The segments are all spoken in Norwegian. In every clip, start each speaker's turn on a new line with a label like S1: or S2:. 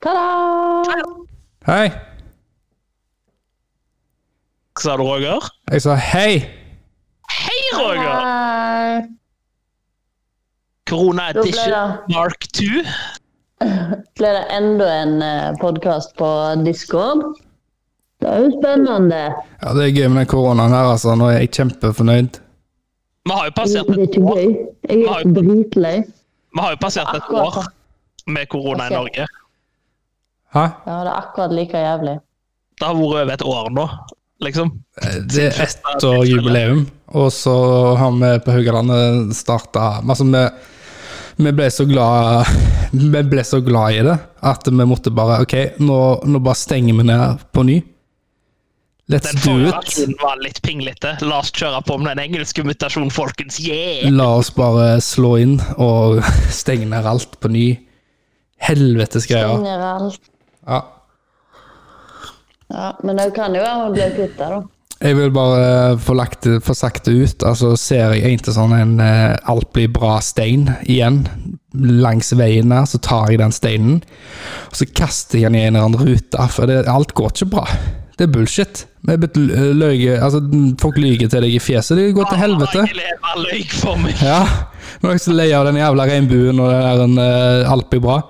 S1: Ta-da!
S2: Hei!
S3: Sa du Roger?
S2: Jeg sa hei!
S3: Hei, Roger!
S1: Hei.
S3: Corona
S1: Da ble
S3: Edition
S1: det,
S3: Mark 2.
S1: ble det enda en podkast på Discord. Det er jo spennende.
S2: Ja, det er gøy med den koronaen her, altså. Nå er jeg kjempefornøyd.
S3: Vi har jo
S1: Det
S3: passert
S1: er
S3: et
S1: ikke
S3: år,
S1: gøy. Jeg er dritlei.
S3: vi har jo passert et
S1: Akkurat.
S3: år med korona i Norge.
S2: Hæ?
S1: Ja, det er akkurat like jævlig.
S3: Det har vært over et år nå, liksom.
S2: Eh, Det er ett år jubileum, og så har vi på Haugalandet starta Altså, vi, vi ble så glad Vi ble så glad i det at vi måtte bare Ok, nå, nå bare stenger vi ned på ny. Let's
S3: Den
S2: do
S3: forrige
S2: it.
S3: versjonen var litt pinglete. La oss kjøre på med den engelske mutasjonen, folkens. Yeah!
S2: La oss bare slå inn og stenge ned alt på ny. Helvetes greier.
S1: Trenger alt.
S2: Ja.
S1: Ja, men det kan jo være hun blir kutta, da.
S2: Jeg vil bare få, lagt, det- få sagt det ut. Altså Ser jeg egentlig sånn en eh, alt blir bra-stein igjen langs veien her, så tar jeg den steinen og så kaster jeg den i en eller annen rute. ah, For det, alt går ikke bra. Det er bullshit. Vi er blitt l- løye, altså, folk lyver til deg i fjeset. Det går til helvete.
S3: Jeg lever løy for meg.
S2: Ja, Nå er jeg så lei av den jævla regnbuen og den der en, eh, alt blir bra.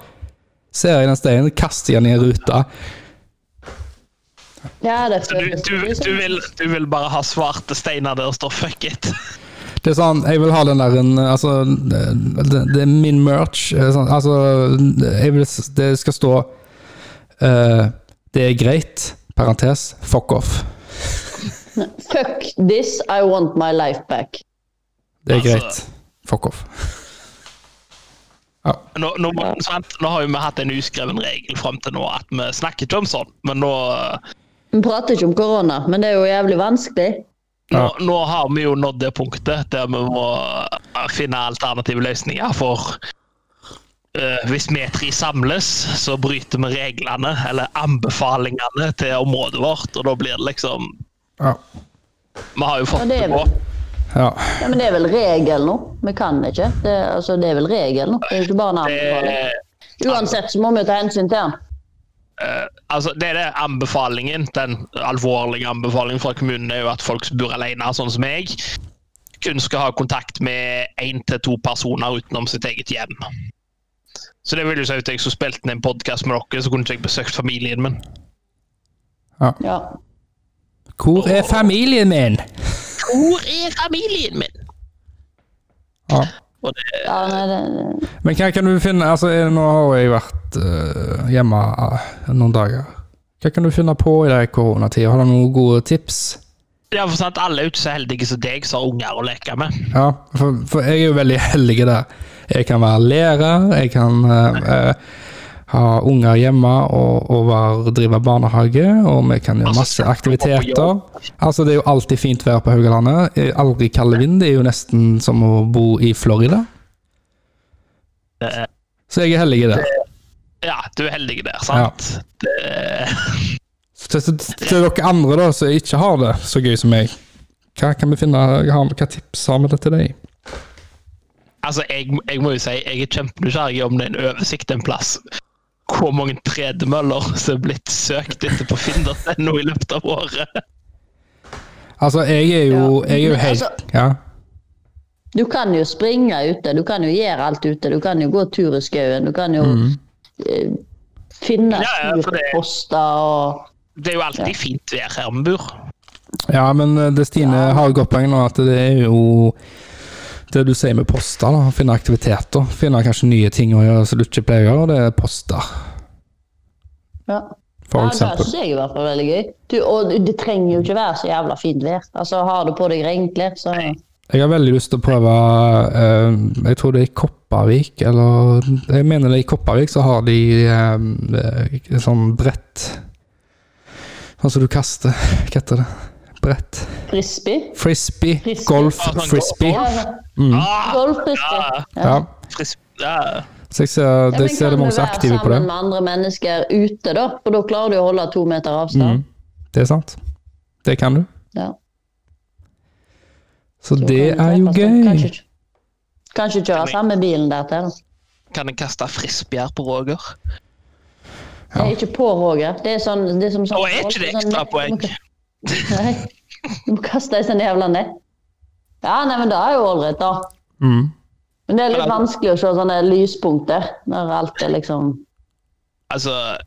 S2: Ser jeg den steinen, kaster jeg den i en rute.
S1: Ja, det
S3: Du,
S1: føles
S3: du,
S1: jo som-
S3: du, vil, du vil bare ha svarte steiner der det står 'fuck it'.
S2: Det er sånn, jeg vil ha den der en, altså, det, det- det er min merch. eh, Sånn, altså, jeg vil, s- det skal stå eh, Det er greit, parentes, fuck off.
S1: Fuck this, I want my life back.
S2: Det er
S3: Altså-
S2: greit, fuck off.
S3: Nå, nå, må- sant? nå har jo vi hatt en uskreven regel fram til nå at vi snakker ikke om sånn, men nå,
S1: Vi prater ikke om korona, men det er jo jævlig vanskelig.
S3: nå,
S2: Ja.
S3: nå har vi jo nådd det punktet der vi må eh, finne alternative løsninger for eh, hvis vi tre samles, så bryter vi reglene eller anbefalingene til området vårt. Og da blir det liksom
S2: Ja.
S3: Vi har jo fått
S1: Og det er
S3: det på.
S1: vel-
S2: ja.
S1: Ja, Men det er vel regel nå? Vi kan ikke. Det, altså, det er vel regel nå? Det er jo ikke bare en anbefaling.
S3: Eh,
S1: Uansett så må vi jo ta hensyn til den.
S3: Eh, altså, det er det anbefalingen, den alvorlige anbefalingen fra kommunen, er jo at folk som bor alene, sånn som meg, kun skal ha kontakt med én til to personer utenom sitt eget hjem. Så det vil jo si at jeg skulle spilt inn en podkast med dere, så kunne ikke jeg besøkt familien min.
S1: Ja.
S2: Hvor er familien min?
S3: Hvor er familien min?
S2: Ja.
S3: Og det,
S1: ja nei, det,
S2: Men hva kan du finne altså, er- Nå har jeg vært eh, hjemme eh, noen dager. Hva kan du finne på i den koronatida? Har du noen gode tips?
S3: ja, for sant, alle er jo ikke så heldige som deg som har unger å leke med.
S2: Ja, for, for jeg er jo veldig heldig der. Jeg kan være lærer, jeg kan eh, eh, ha unger hjemme og, og være, drive barnehage, og vi kan gjøre
S3: Altså,
S2: masse
S3: skal du gå på
S2: aktiviteter.
S3: jobb?
S2: Altså, det er jo alltid fint vær på Haugalandet. Eh, Aldri kald vind. Det er jo nesten som å bo i Florida.
S3: Det er-
S2: Så jeg er heldig der.
S3: Ja, du er heldig der, sant? Det,
S2: Så Til, til, til dere andre da, som ikke har det så gøy som meg, hva kan vi finne, hva hva tips har vi det til deg?
S3: Altså, jeg, jeg må jo si, jeg er kjempenysgjerrig om det er en oversikt en plass. Hvor mange tredemøller som er blitt søkt etter på Finder.no i løpet av året.
S2: Altså, jeg er jo,
S1: Ja,
S2: jeg er jo
S1: men
S2: helt
S1: altså-
S2: ja.
S1: du kan jo springe ute, du kan jo gjøre alt ute. Du kan jo gå tur i skauen, du kan jo
S2: Mhm.
S1: eh, finne
S3: Ja, ja, for det-
S1: turposter og
S3: Det er jo alltid fint vær her vi bor.
S2: Ja, men eh, det Stine har jo godt poeng nå, at det er jo det du sier med poster. da, Finne aktiviteter. Finne kanskje nye ting å gjøre som du ikke pleier å gjøre. Det er poster,
S1: ja.
S2: for
S1: Ja, det
S2: eksempel.
S1: syns jeg i hvert fall er veldig gøy. Du, og det trenger jo ikke være så jævla fint vær. Altså, har du på deg regnklær, så
S2: Jeg har veldig lyst til å prøve eh, Jeg tror det er i Kopervik, eller Jeg mener det er i Kopervik, så har de eh, sånn brett Sånn som du kaster Hva heter det? Brett.
S1: frisbee.
S2: Frisbee.
S1: Frisbee.
S2: Golf.
S3: Ja, sånn
S2: Frisbee.
S3: golf.
S1: Ja,
S3: Ah,
S1: Golffrisbee.
S3: ja,
S2: Ja.
S3: fris, ja.
S2: Så jeg ser,
S1: Ja, men
S2: jeg ser det er mange som er aktive
S1: Kan
S2: på
S1: du være
S2: det.
S1: sammen med andre mennesker ute, da? For da klarer du å holde to meter avstand.
S2: Mm. Det er sant. Det kan du.
S1: Ja,
S2: Så
S1: så
S2: det
S1: kan
S2: er
S1: du
S2: jo
S1: treffes, da. Kanskje
S2: gøy.
S1: ikke- Kanskje kjøre samme bilen der til. da.
S3: Kan en kaste frisbee her på Roger?
S1: Det er ikke på, Roger. Det er, sånn, det er som sånn
S3: Og er ikke det
S1: sånn-
S3: ekstra poeng?
S1: Nei. Du må kaste deg sånn jævla ned. Ja, nei, men det er jo ålreit, da.
S2: Mm.
S1: Men det er litt
S3: Men altså-
S1: vanskelig å se sånne lyspunkter når alt er liksom
S3: Altså,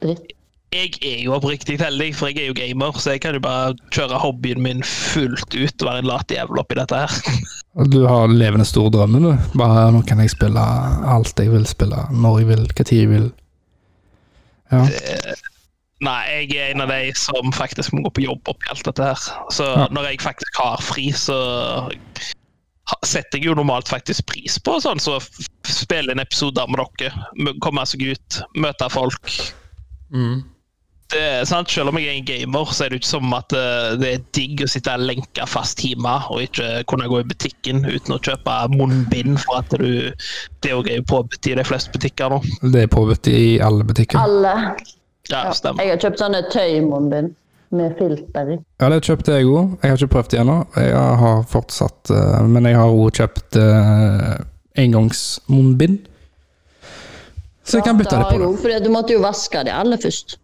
S1: dritt.
S3: jeg er jo oppriktig heldig, for jeg er jo gamer, så jeg kan jo bare kjøre hobbyen min fullt ut og være en lat jævel oppi dette her.
S2: Og Du har levende store drømmer, du. Bare nå kan jeg spille alt jeg vil spille, når jeg vil, hva tid jeg vil. Ja.
S3: Nei, jeg er en av de som faktisk må gå på jobb oppi alt dette her. Så
S2: Ja.
S3: når jeg faktisk har fri, så ha- setter jeg jo normalt faktisk pris på sånn, så f- spille en episode med dere, m- komme seg ut, møte folk. det, er sant? Selv om jeg er en gamer, så er det jo ikke som at eh, det er digg å sitte lenka fast hjemme og ikke kunne gå i butikken uten å kjøpe munnbind, for at du Det òg er jo påbudt i de fleste butikker nå.
S2: Det er påbudt i alle butikker.
S1: Alle.
S3: Ja,
S1: Ja.
S3: stemmer.
S1: Jeg har kjøpt sånne tøymunnbind med filter i.
S2: Ja, det kjøpte jeg òg. Jeg har ikke prøvd det ennå. Jeg har fortsatt eh, Men jeg har òg kjøpt uh, engangsmunnbind. Så jeg kan bytte det på det.
S1: For du måtte jo vaske de alle først.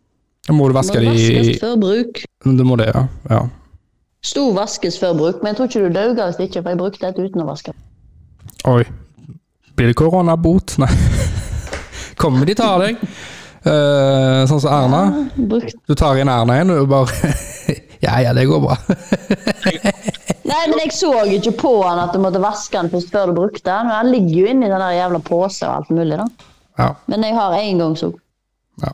S2: Må du
S1: De
S2: vaske
S1: må
S2: det i
S1: vaskes før bruk.
S2: Du må det, ja. ja.
S1: Sto vaskes før bruk, men jeg tror ikke du dauga hvis ikke, for jeg brukte et uten å vaske.
S2: Oi. Blir det koronabot? Nei. Kommer de tar deg? Eh, sånn som Erna.
S1: Brukt.
S2: Du tar inn Erna igjen, og du bare Ja, ja, det går bra.
S1: Nei, men jeg så ikke på han at du måtte vaske den først før du brukte den. Men han ligger jo inni den der jævla pose og alt mulig, da.
S2: Ja.
S1: Men jeg har en gang så.
S2: ja.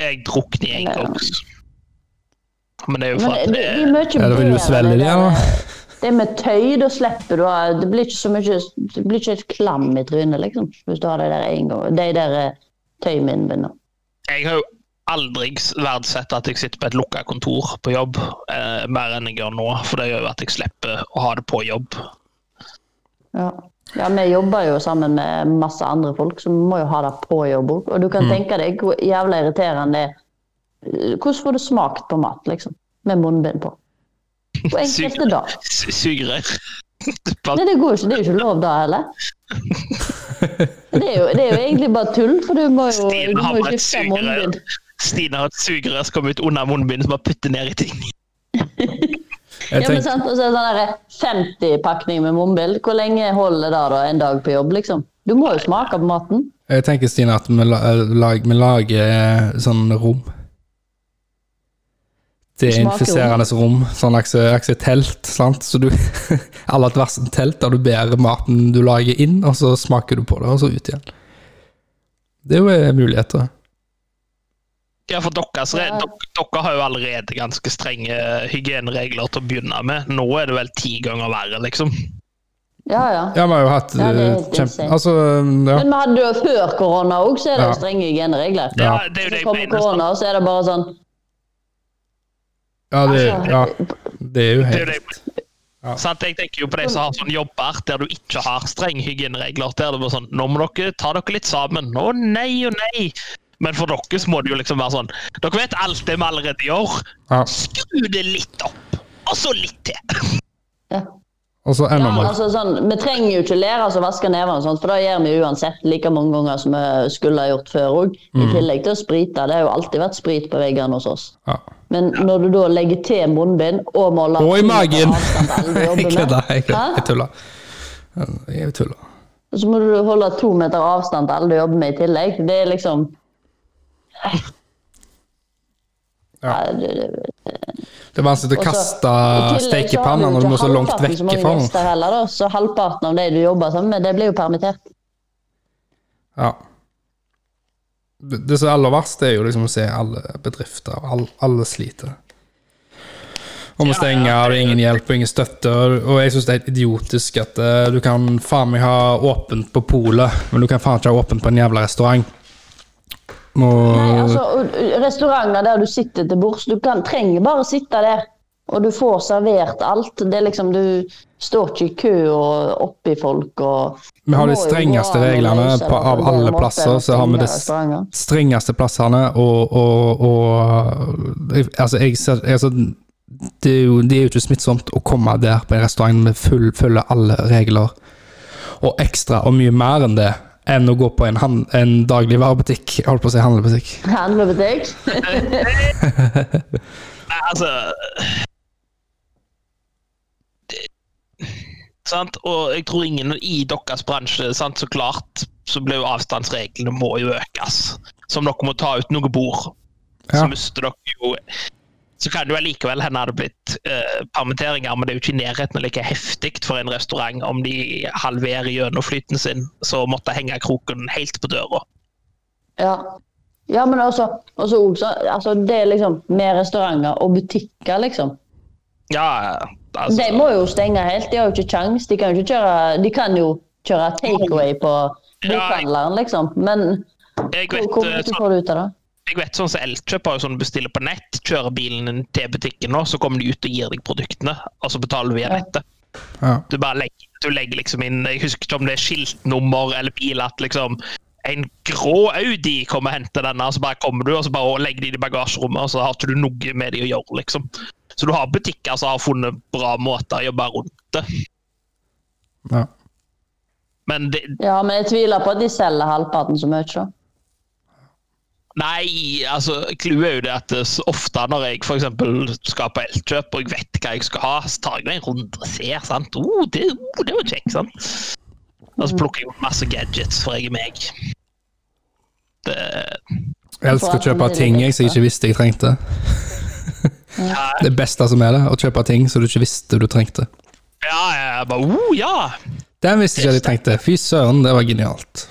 S3: Jeg drukner i engangs. Men det er jo
S1: Men
S3: for
S1: det,
S3: at
S1: det,
S3: det
S1: det er mye
S2: ja da vil du
S1: bedre,
S2: svelge
S1: det
S2: de,
S1: der-
S2: da.
S1: Det med tøy, da slipper du å Det blir ikke så mye Det blir ikke et klam i trynet, liksom. Hvis du har de der en gang De der eh, tøyminnbindene.
S3: eh, Jeg har jo aldri verdsett at jeg sitter på et lukka kontor på jobb, eh, mer enn jeg gjør nå, for det gjør jo at jeg slipper å ha det på jobb.
S1: Ja. ja, vi jobber jo sammen med masse andre folk, så vi må jo ha det på jobb òg. Og du kan tenke deg hvor jævla irriterende det er. Hvordan får du smakt på mat, liksom? Med munnbind på. På enkelte da.
S3: Sugerør. Sugerør.
S1: Nei, det går jo ikke. Det er jo ikke lov da heller. Det er jo, det er jo egentlig bare tull, for du må jo,
S3: Stine
S1: du
S3: har
S1: må jo
S3: bare et
S1: skifte
S3: sugerør.
S1: munnbind.
S3: Stine har et sugerør som kommer ut under munnbindet, som bare putter ned i ting.
S2: Jeg
S1: Ja, men
S2: tenk,
S1: sant, og så er det sånn der 50-pakning med mobil. Hvor lenge holder det da en dag på jobb, liksom? Du må jo smake på maten.
S2: jeg tenker, Stine, at vi, la, lag, vi lager eh, sånn rom. Det er
S1: Smakerom.
S2: infiserende rom. Sånn akse, akse telt, sant. Så du Alle har et hvert sitt telt der du bærer maten du lager inn, og så smaker du på det, og så ut igjen. Det er jo eh, muligheter.
S3: Ja, for dere, så,
S1: Ja.
S3: dere, dere har jo allerede ganske strenge hygieneregler til å begynne med. Nå er det vel ti ganger verre, liksom.
S1: Ja, ja.
S2: Ja, vi har jo hatt
S1: Ja, det er
S2: eh,
S1: helt
S2: kjempe...
S1: insane.
S2: Altså, ja.
S1: Men vi hadde jo før korona òg, så er det
S2: Ja.
S1: jo strenge hygieneregler.
S2: Ja.
S3: Ja, det er jo
S1: Så
S3: det jeg
S1: kommer
S3: mener. sant?
S1: korona, og så er det bare sånn
S2: Ja, det,
S1: Altså,
S2: ja, det er jo
S3: Det er jo
S2: helt
S3: det jeg mener. Sant? jeg tenker jo på de som har sånne jobber der du ikke har strenge hygieneregler. Der det bare sånn Nå må dere ta dere litt sammen. Å nei, å nei. Men for dere så må det jo liksom være sånn Dere vet alt det vi allerede gjør.
S2: ja.
S3: Skru det litt opp. Og så litt til.
S1: ja.
S2: Og så enda
S1: Ja,
S2: mer.
S1: altså, sånn, vi trenger jo ikke lære oss å vaske nevene, og sånt, for da gjør vi uansett like mange ganger som vi skulle ha gjort før òg. I
S2: Mm.
S1: tillegg til å sprite. Det har jo alltid vært sprit på veggene hos oss.
S2: Ja.
S1: Men når du da legger til munnbind og måler
S2: Og i magen!
S1: Jeg
S2: Jeg kødder, jeg kødder. Jeg tuller. Jeg tuller.
S1: Og så må du holde to meter avstand til alle du jobber med i tillegg. Det er liksom
S2: Ja.
S1: Nei, det- det-
S2: Det er vanskelig å
S1: og så-
S2: kaste
S1: i tillegg så har
S2: stekepanna når du må
S1: ikke
S2: så langt
S1: halvparten
S2: vekk
S1: så mange
S2: fra den.
S1: gjester heller, da, Så halvparten av de du jobber sammen med, det blir jo permittert.
S2: Ja. Det det som er aller verst, det er jo liksom å se alle bedrifter, og alle, alle sliter. Om å stenge, og det er ingen hjelp og ingen støtte. og- Og jeg syns det er helt idiotisk at eh, du kan faen meg ha åpent på polet, men du kan faen ikke ha åpent på en jævla restaurant. Og,
S1: Nei, altså, og- og Restauranter der du sitter til bords, du kan, trenger bare sitte der. Og du får servert alt. Det er liksom, Du står ikke i kø og oppi folk og
S2: Vi har de
S1: Det må jo
S2: strengeste
S1: gå an å
S2: reglene
S1: løse det
S2: på,
S1: på
S2: av
S1: en
S2: alle
S1: måte,
S2: plasser. Så
S1: å
S2: har vi
S1: stenge
S2: de
S1: restauranter.
S2: strengeste plassene, og, og, og jeg- Altså, jeg ser altså, det, er jo, det er jo ikke smittsomt å komme der på en restaurant med full, følge alle regler, og ekstra og mye mer enn det. enn å gå på en, han- en dagligvarebutikk. Jeg holdt på å si handlebutikk.
S1: Handlebutikk?
S3: Nei, altså det, Sant? Og jeg tror ingen i deres bransje sant? Så klart så blir jo avstandsreglene må jo økes. Som dere må ta ut noe bord. Så
S2: Ja.
S3: mister dere jo Så kan det jo allikevel hende det hadde blitt eh, permitteringer, men det er jo ikke i nærheten av like heftig for en restaurant om de halverer gjennomflyten sin, så måtte henge kroken helt på døra.
S1: Ja. ja, men også, også, også altså, Det er liksom med restauranter og butikker, liksom.
S3: Ja, altså
S1: De må jo stenge helt. De har jo ikke kjangs. De kan jo ikke kjøre De kan jo kjøre takeaway på bokhandleren, liksom. Men
S3: Jeg
S1: hvor,
S3: vet,
S1: hvor
S3: eh,
S1: mye
S3: sånn-
S1: får du ut av det?
S3: jeg vet sånn som Elkjøp har jo sånn bestiller på nett, kjører bilen din til butikken nå, så kommer de ut og gir deg produktene, og så betaler du via
S1: Ja.
S3: nettet.
S2: Ja.
S3: Du bare legger, du legger liksom inn Jeg husker ikke om det er skiltnummer eller bil at liksom en grå Audi kommer og henter denne, og så bare kommer du og så bare legger de det i bagasjerommet, og så har ikke du noe med det å gjøre, liksom. Så du har butikker som har funnet bra måter å jobbe rundt det.
S2: Ja.
S3: Men det,
S1: Ja, men jeg tviler på at de selger halvparten så mye, da.
S3: Nei, altså, clouet er jo det at det så ofte når jeg f.eks. skal på Elkjøp og jeg vet hva jeg skal ha, så tar jeg meg en runde og ser. sant? Oh, det, oh, det var kjekt, sant? Og så plukker jeg opp masse gadgets, for jeg er meg. Det,
S2: Jeg elsker å kjøpe ting jeg som jeg ikke visste jeg trengte. Det beste som er det, å kjøpe ting som du ikke visste du trengte.
S3: ja, jeg bare oh, ja!
S2: Den visste ikke jeg de trengte. Fy søren, det var genialt.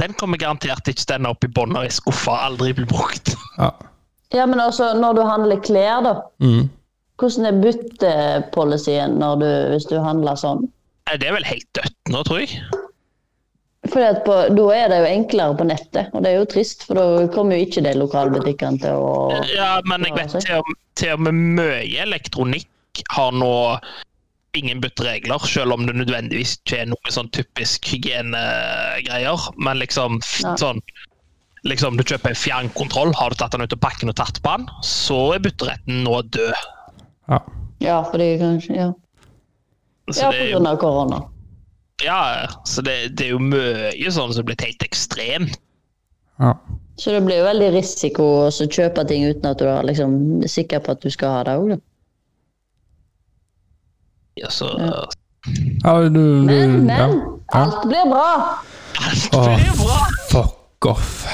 S3: Den kommer garantert ikke til å ende opp i bånn og i skuffa og aldri bli brukt.
S2: Ja.
S1: Ja, men også når du handler klær, da.
S2: Mm.
S1: Hvordan er byttepolicyen når du- hvis du handler sånn?
S3: Nei, Det er vel helt dødt nå, tror jeg.
S1: Fordi at på, Da er det jo enklere på nettet, og det er jo trist, for da kommer jo ikke de lokalbutikkene til å
S3: Ja, men
S1: Ja,
S3: jeg vet
S1: altså.
S3: til og, til og med mye elektronikk har nå ingen bytteregler, selv om det nødvendigvis ikke er noe sånn typisk hygienegreier. Men liksom f-
S1: Ja.
S3: sånn liksom Du kjøper en fjernkontroll, har du tatt den ut av pakken og tatt på den, så er bytteretten nå død.
S2: Ja.
S1: Ja, fordi kanskje Ja,
S3: Så
S1: ja
S3: det, er
S1: på
S3: jo-
S1: grunn av korona.
S3: ja, så det, det er jo mye sånn som er blitt helt ekstremt.
S2: Ja.
S1: Så det blir jo veldig risiko å så kjøpe ting uten at du er liksom sikker på at du skal ha det òg, da.
S3: Ja, så,
S1: Ja.
S2: ja du, du,
S1: Men,
S2: Mm, ja.
S1: men!
S2: Ja.
S1: Alt blir bra!
S3: Alt blir bra!
S2: Fuck off.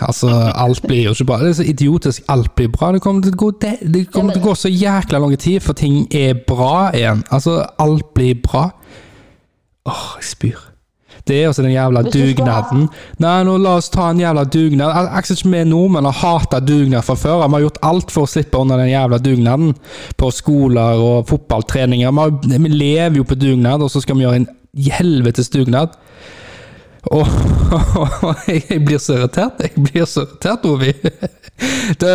S2: Altså, alt blir jo ikke bra. Det er så idiotisk. Alt blir bra. Det kommer til å gå, det, det kommer til å gå så jækla lang tid før ting er bra igjen. Altså, alt blir bra. Åh, jeg spyr. Det er også den jævla
S1: Hvis du skulle
S2: dugnaden. Nei, nå la oss ta en jævla dugnad. Al- Akkurat som vi nordmenn har hata dugnad fra før. Vi har gjort alt for å slippe unna den jævla dugnaden. På skoler og fotballtreninger. Vi, har, vi lever jo på dugnad, og så skal vi gjøre en helvetes dugnad. Og jeg, jeg blir så irritert. Jeg blir så irritert, Ovi. Du,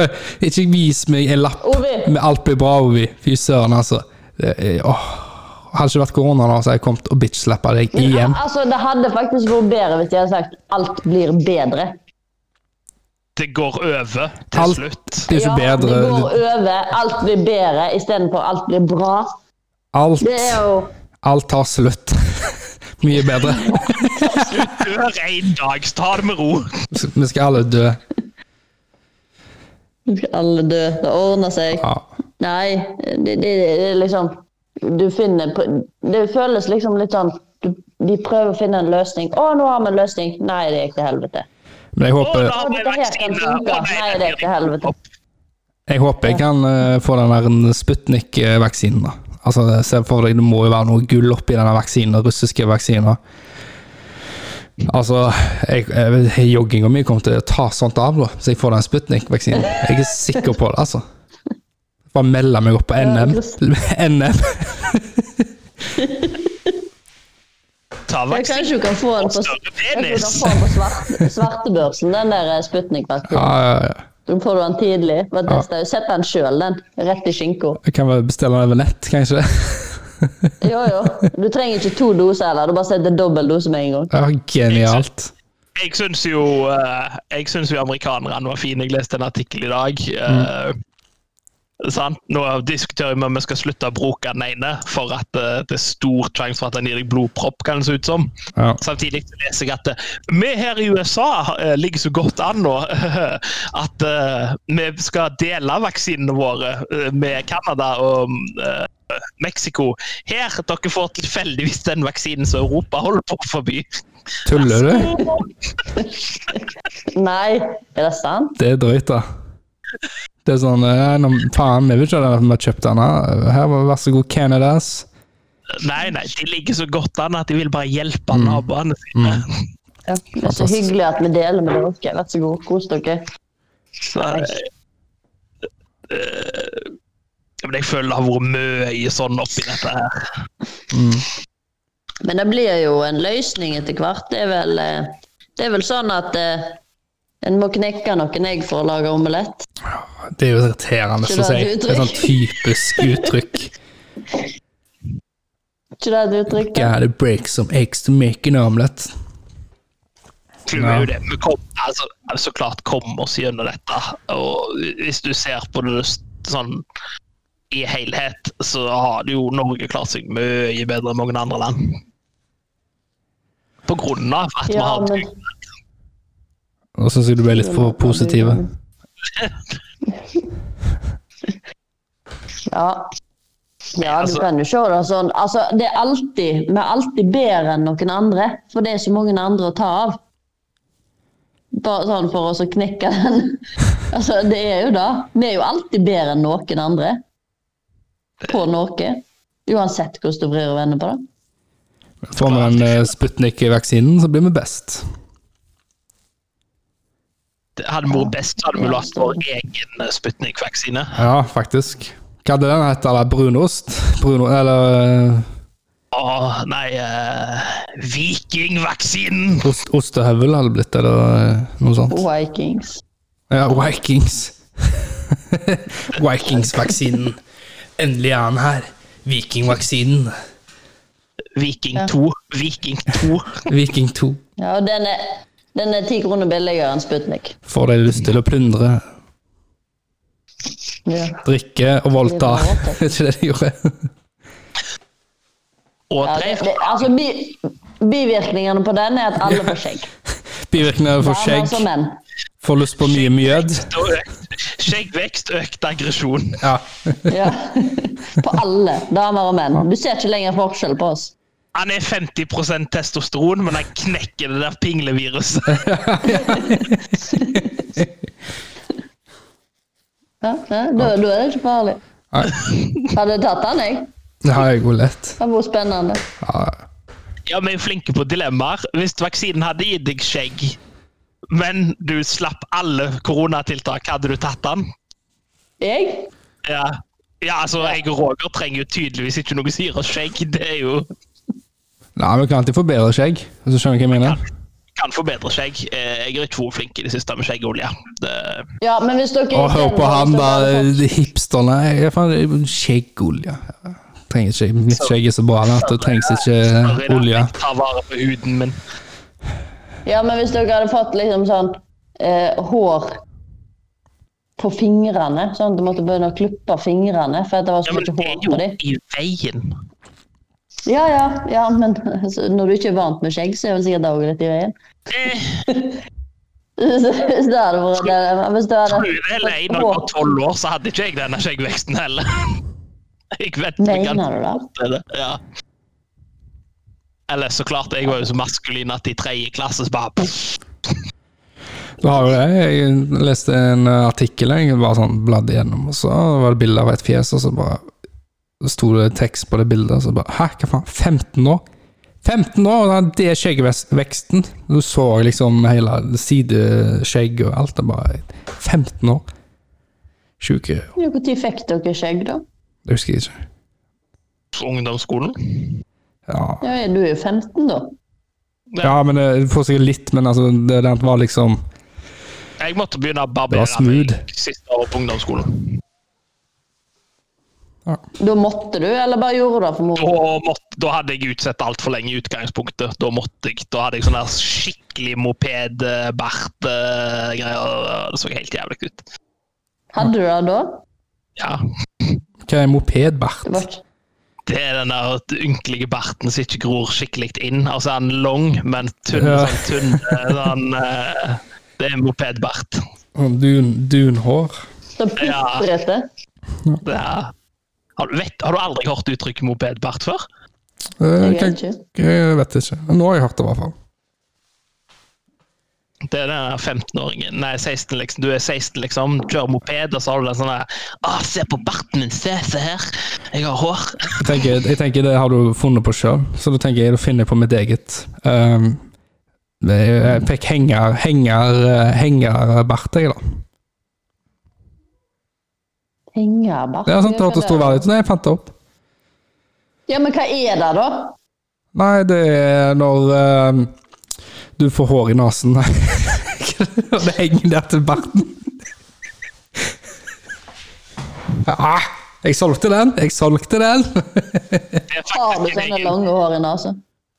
S2: ikke vis meg en lapp
S1: Ovi.
S2: med 'alt blir bra', Ovi. Fy søren, altså. Det er, åh. Hadde ikke vært korona, da, så hadde jeg kommet og bitch-slappa deg
S1: Men,
S2: igjen.
S1: al- altså, det hadde faktisk vært bedre hvis de hadde sagt 'alt blir bedre'.
S3: Det går over til
S2: Alt-
S3: slutt.
S2: Det er jo ikke
S1: ja,
S2: bedre.
S1: Det går over. Alt blir bedre istedenfor alt blir bra.
S2: Alt,
S1: Det er jo
S2: alt tar slutt. Mye bedre.
S3: Du dør en dag, så ta det med ro.
S2: Vi skal alle dø.
S1: Nå skal alle dø. Det ordner seg.
S2: Ja.
S1: Nei, det, det, det er liksom Du finner pr- Det føles liksom litt sånn du, De prøver å finne en løsning. 'Å, nå har vi en løsning.' Nei, det gikk til helvete.
S2: Men jeg
S3: Å,
S2: håper,
S3: da har vi
S1: Dette her kan
S3: vaksine.
S1: funke.
S3: Å, nei,
S1: Nei,
S3: den
S1: det er til
S3: gjør
S1: helvete.
S3: eh, opp.
S2: jeg, håper jeg kan eh, få den der Sputnik-vaksinen, da. Altså, se for deg, det må jo være noe gull oppi denne vaksinen, den russiske vaksinen. Altså, jeg, jeg, jogginga mi kommer til å ta sånt av, da, så jeg får den Sputnik-vaksinen. Jeg er sikker på det, altså. Bare melde meg opp på NM. NM.
S3: Ta
S1: Jeg
S3: vaksine.
S1: kanskje du kan få den på,
S3: Større
S1: kanskje du
S3: penis.
S1: kan få den på svart, svartebørsen, den der eh, Sputnik-vaksinen.
S2: Ja, ja, ja.
S1: Da får du den tidlig. Bare teste. Sett den sjøl, den. Rett i skinka.
S2: Jeg kan vel bestille den over nett, kanskje.
S1: Jo, jo. Du trenger ikke to doser heller. Du bare setter dobbel dose med en gang.
S2: Ja, genialt.
S3: Jeg syns jo, eh, jeg synes jo amerikanerne var fine. Jeg leste en artikkel i dag. eh, Sant? Nå diskuterer vi om vi skal slutte å bruke den ene, for at eh, det er stor sjanse for at den gir deg blodpropp, kan det se ut som.
S2: Ja.
S3: Samtidig så leser jeg at eh, vi her i USA eh, ligger så godt an nå at eh, vi skal dele vaksinene våre eh, med Canada og eh, Mexico. Her dere får tilfeldigvis den vaksinen som Europa holder på å forby.
S2: Tuller du?
S1: Nei, er det sant?
S2: Det er drøyt, da. Det er sånn eh, nå, Faen, vi vil ikke ha den, vi har kjøpt den her. Her, var- vær så god, Canadas.
S3: Nei, nei, de ligger så godt an at de vil bare hjelpe naboene sine.
S2: Mm.
S1: Ja. Det er så
S2: Fantastisk.
S1: hyggelig at vi deler med dere. Vær så god, kos dere.
S3: Så, eh, eh, men jeg føler det har vært mye sånn oppi dette her.
S2: Mm.
S1: Men det blir jo en løsning etter hvert. Det er vel, eh, det er vel sånn at eh, en må knekke noen egg for å lage omelett.
S2: Det er jo irriterende,
S1: Ikke
S2: syns
S1: det
S2: jeg.
S1: et
S2: Det er sånn typisk uttrykk.
S1: Ikke det et uttrykk? da?
S2: Gotta break some eggs to make an omelette.
S3: Clouet er
S2: Ja.
S3: jo det. Vi kom, altså, så klart kom oss gjennom dette. Og hvis du ser på det s- sånn i helhet, så har det jo Norge klart seg mye bedre enn mange andre land. På grunn av at vi
S1: Ja,
S3: har
S1: men
S2: Nå syns jeg du ble litt for positiv.
S1: Ja. Ja, du
S3: Altså-
S1: kan jo se det sånn. Altså, det er alltid, vi er alltid bedre enn noen andre, for det er så mange andre å ta av. Bare sånn for oss å knekke den. Altså, det er jo det. Vi er jo alltid bedre enn noen andre. På noe. Uansett hvordan du vrir og vender på det.
S2: Får vi den eh, Sputnik-vaksinen, så blir vi best.
S3: Hadde vi vært best, så hadde vi lagd vår egen eh, Sputnik-vaksine.
S2: Ja, faktisk. Hva hadde den hett? eller? Brunost? Bruno, eller eh,
S3: Åh, Ah, nei eh, Vikingvaksinen!
S2: ost, Ostehøvel hadde det blitt, eller eh, noe sånt.
S1: Vikings.
S2: Ja, Vikings. Vikings-vaksinen. Endelig er han her. Viking-vaksinen.
S3: Viking 2. Viking 2.
S2: Viking 2.
S1: Ja, og den er, den er ti kroner billigere enn Sputnik.
S2: Får deg lyst til å plyndre,
S1: Ja.
S2: drikke og voldta.
S1: Det
S2: Er ikke det de gjorde?
S3: Og
S1: Ja,
S3: tre
S1: det, det, altså, bi, bivirkningene på den er at alle får skjegg. altså,
S2: Bivirkninger for
S1: Damer som
S2: skjegg.
S1: menn.
S2: Får lyst på mye mjød.
S3: og økt- Skjeggvekst, økt aggresjon.
S2: Ja.
S1: Ja. På alle. Damer og menn. Du ser ikke lenger forskjell på oss.
S3: Han er 50 testosteron, men han knekker det der pingleviruset.
S1: Ja, ja, da, da er det ikke farlig.
S2: Nei,
S1: Hadde tatt den, jeg.
S2: Det har jeg jo lett.
S1: Det hadde vært spennende.
S2: Ja.
S3: Ja, vi er flinke på dilemmaer. Hvis vaksinen hadde gitt deg skjegg, men du slapp alle koronatiltak, hadde du tatt den?
S1: Jeg?
S3: Ja. Ja, altså, Jeg og Roger trenger jo tydeligvis ikke noe syre og skjegg. Det er jo
S2: Nei, vi kan alltid få bedre skjegg. Hvis du skjønner hva jeg mener?
S3: Kan få bedre skjegg. Eh, Jeg er ikke for flink i det siste med skjeggolje. Det
S1: Ja, men hvis dere
S2: Og hør på han,
S1: hvis
S2: da.
S1: dere hadde fått-
S2: de Hipsterne. Jeg faen, Skjeggolje. Trenger ikke, mitt skjegg er så bra at det trengs ikke Eh, olje.
S3: Ta vare på huden min.
S1: Ja, men hvis dere hadde fått liksom sånn eh, hår på fingrene, sånn at du måtte begynne å klippe fingrene for at det var så
S3: Ja, men
S1: mye
S3: det er
S1: hår
S3: jo
S1: på dem.
S3: i veien.
S1: Ja, ja, ja, men altså, når du ikke er vant med skjegg, så er vel sikkert det også litt i veien.
S3: Eh,
S1: Hvis hvis det hadde vært det- Hvis det hadde
S3: tror du vel jeg, når jeg var tolv år, så hadde ikke jeg denne skjeggveksten heller. Jeg vet ikke
S1: Mener du det?
S3: det er det. Ja. Eller så klart, jeg var jo så maskulin at i tredje klasse så bare pff,
S2: Du har jo det. Jeg leste en eh, artikkel, jeg bare sånn bladde gjennom, og så var det bilde av et fjes, og så bare så sto det tekst på det bildet, og så bare Hæ, hva faen? 15 år? 15 år, og da hadde det er skjeggveksten. Du så liksom hele sideskjegg og alt. Det bare 15 år. Sjuke år.
S1: Ja, Hvor tid fikk dere skjegg, da?
S2: Det husker jeg ikke.
S3: ungdomsskolen.
S2: Ja,
S1: Ja, du er jo 15, da.
S2: ja men det du får sikkert litt, men altså, det det var liksom
S3: Jeg måtte begynne å
S2: Det var
S3: barbere
S2: smooth.
S3: meg siste år på ungdomsskolen.
S1: Da måtte du, eller bare gjorde du det for
S3: Da,
S1: moro?
S3: måtte, da hadde jeg utsett altfor lenge i utgangspunktet. Da måtte jeg, da hadde jeg sånn der skikkelig eh, moped-bart-greier. Det så helt jævlig ut.
S1: Hadde du det da?
S3: Ja,
S2: Hva er mopedbart?
S1: Det var ikke-
S3: det er den der ynkelige barten som ikke gror skikkelig inn. Altså, han er lang, men tynn.
S2: Ja.
S3: Sånn, tynn eh, sånn, eh, det er mopedbart.
S2: Sånn Dun, dunhår?
S1: Det putrete.
S3: Det er, har, du, vet, har du aldri hørt uttrykket mopedbart før?
S2: Eh,
S1: Jeg vet
S2: hva-
S1: ikke.
S2: Jeg vet ikke. Nå har jeg hørt det, i hvert fall.
S3: Det er den der 15-åringen Nei, 16, liksom. Du er 16, liksom. Kjører moped, og så har du den sånn der Å, se på barten min! Se, se her! Jeg har hår!
S2: Jeg tenker, jeg tenker det har du funnet på sjøl, så da tenker jeg da finner jeg på mitt eget. Ehm, jeg fikk henger, henger, hengerbart, jeg, da.
S1: Hengerbart.
S2: Det er sånn sant, det hørtes troverdig ut. Nei, jeg fant det opp.
S1: Ja, men hva er det, da?
S2: Nei, det er når ehm, du får hår i nesen, og det henger der til barten. Ja, jeg solgte den! Jeg solgte den!
S3: Det er
S1: Har du sånne
S3: faktisk, en egen,
S1: lange hår i nesen?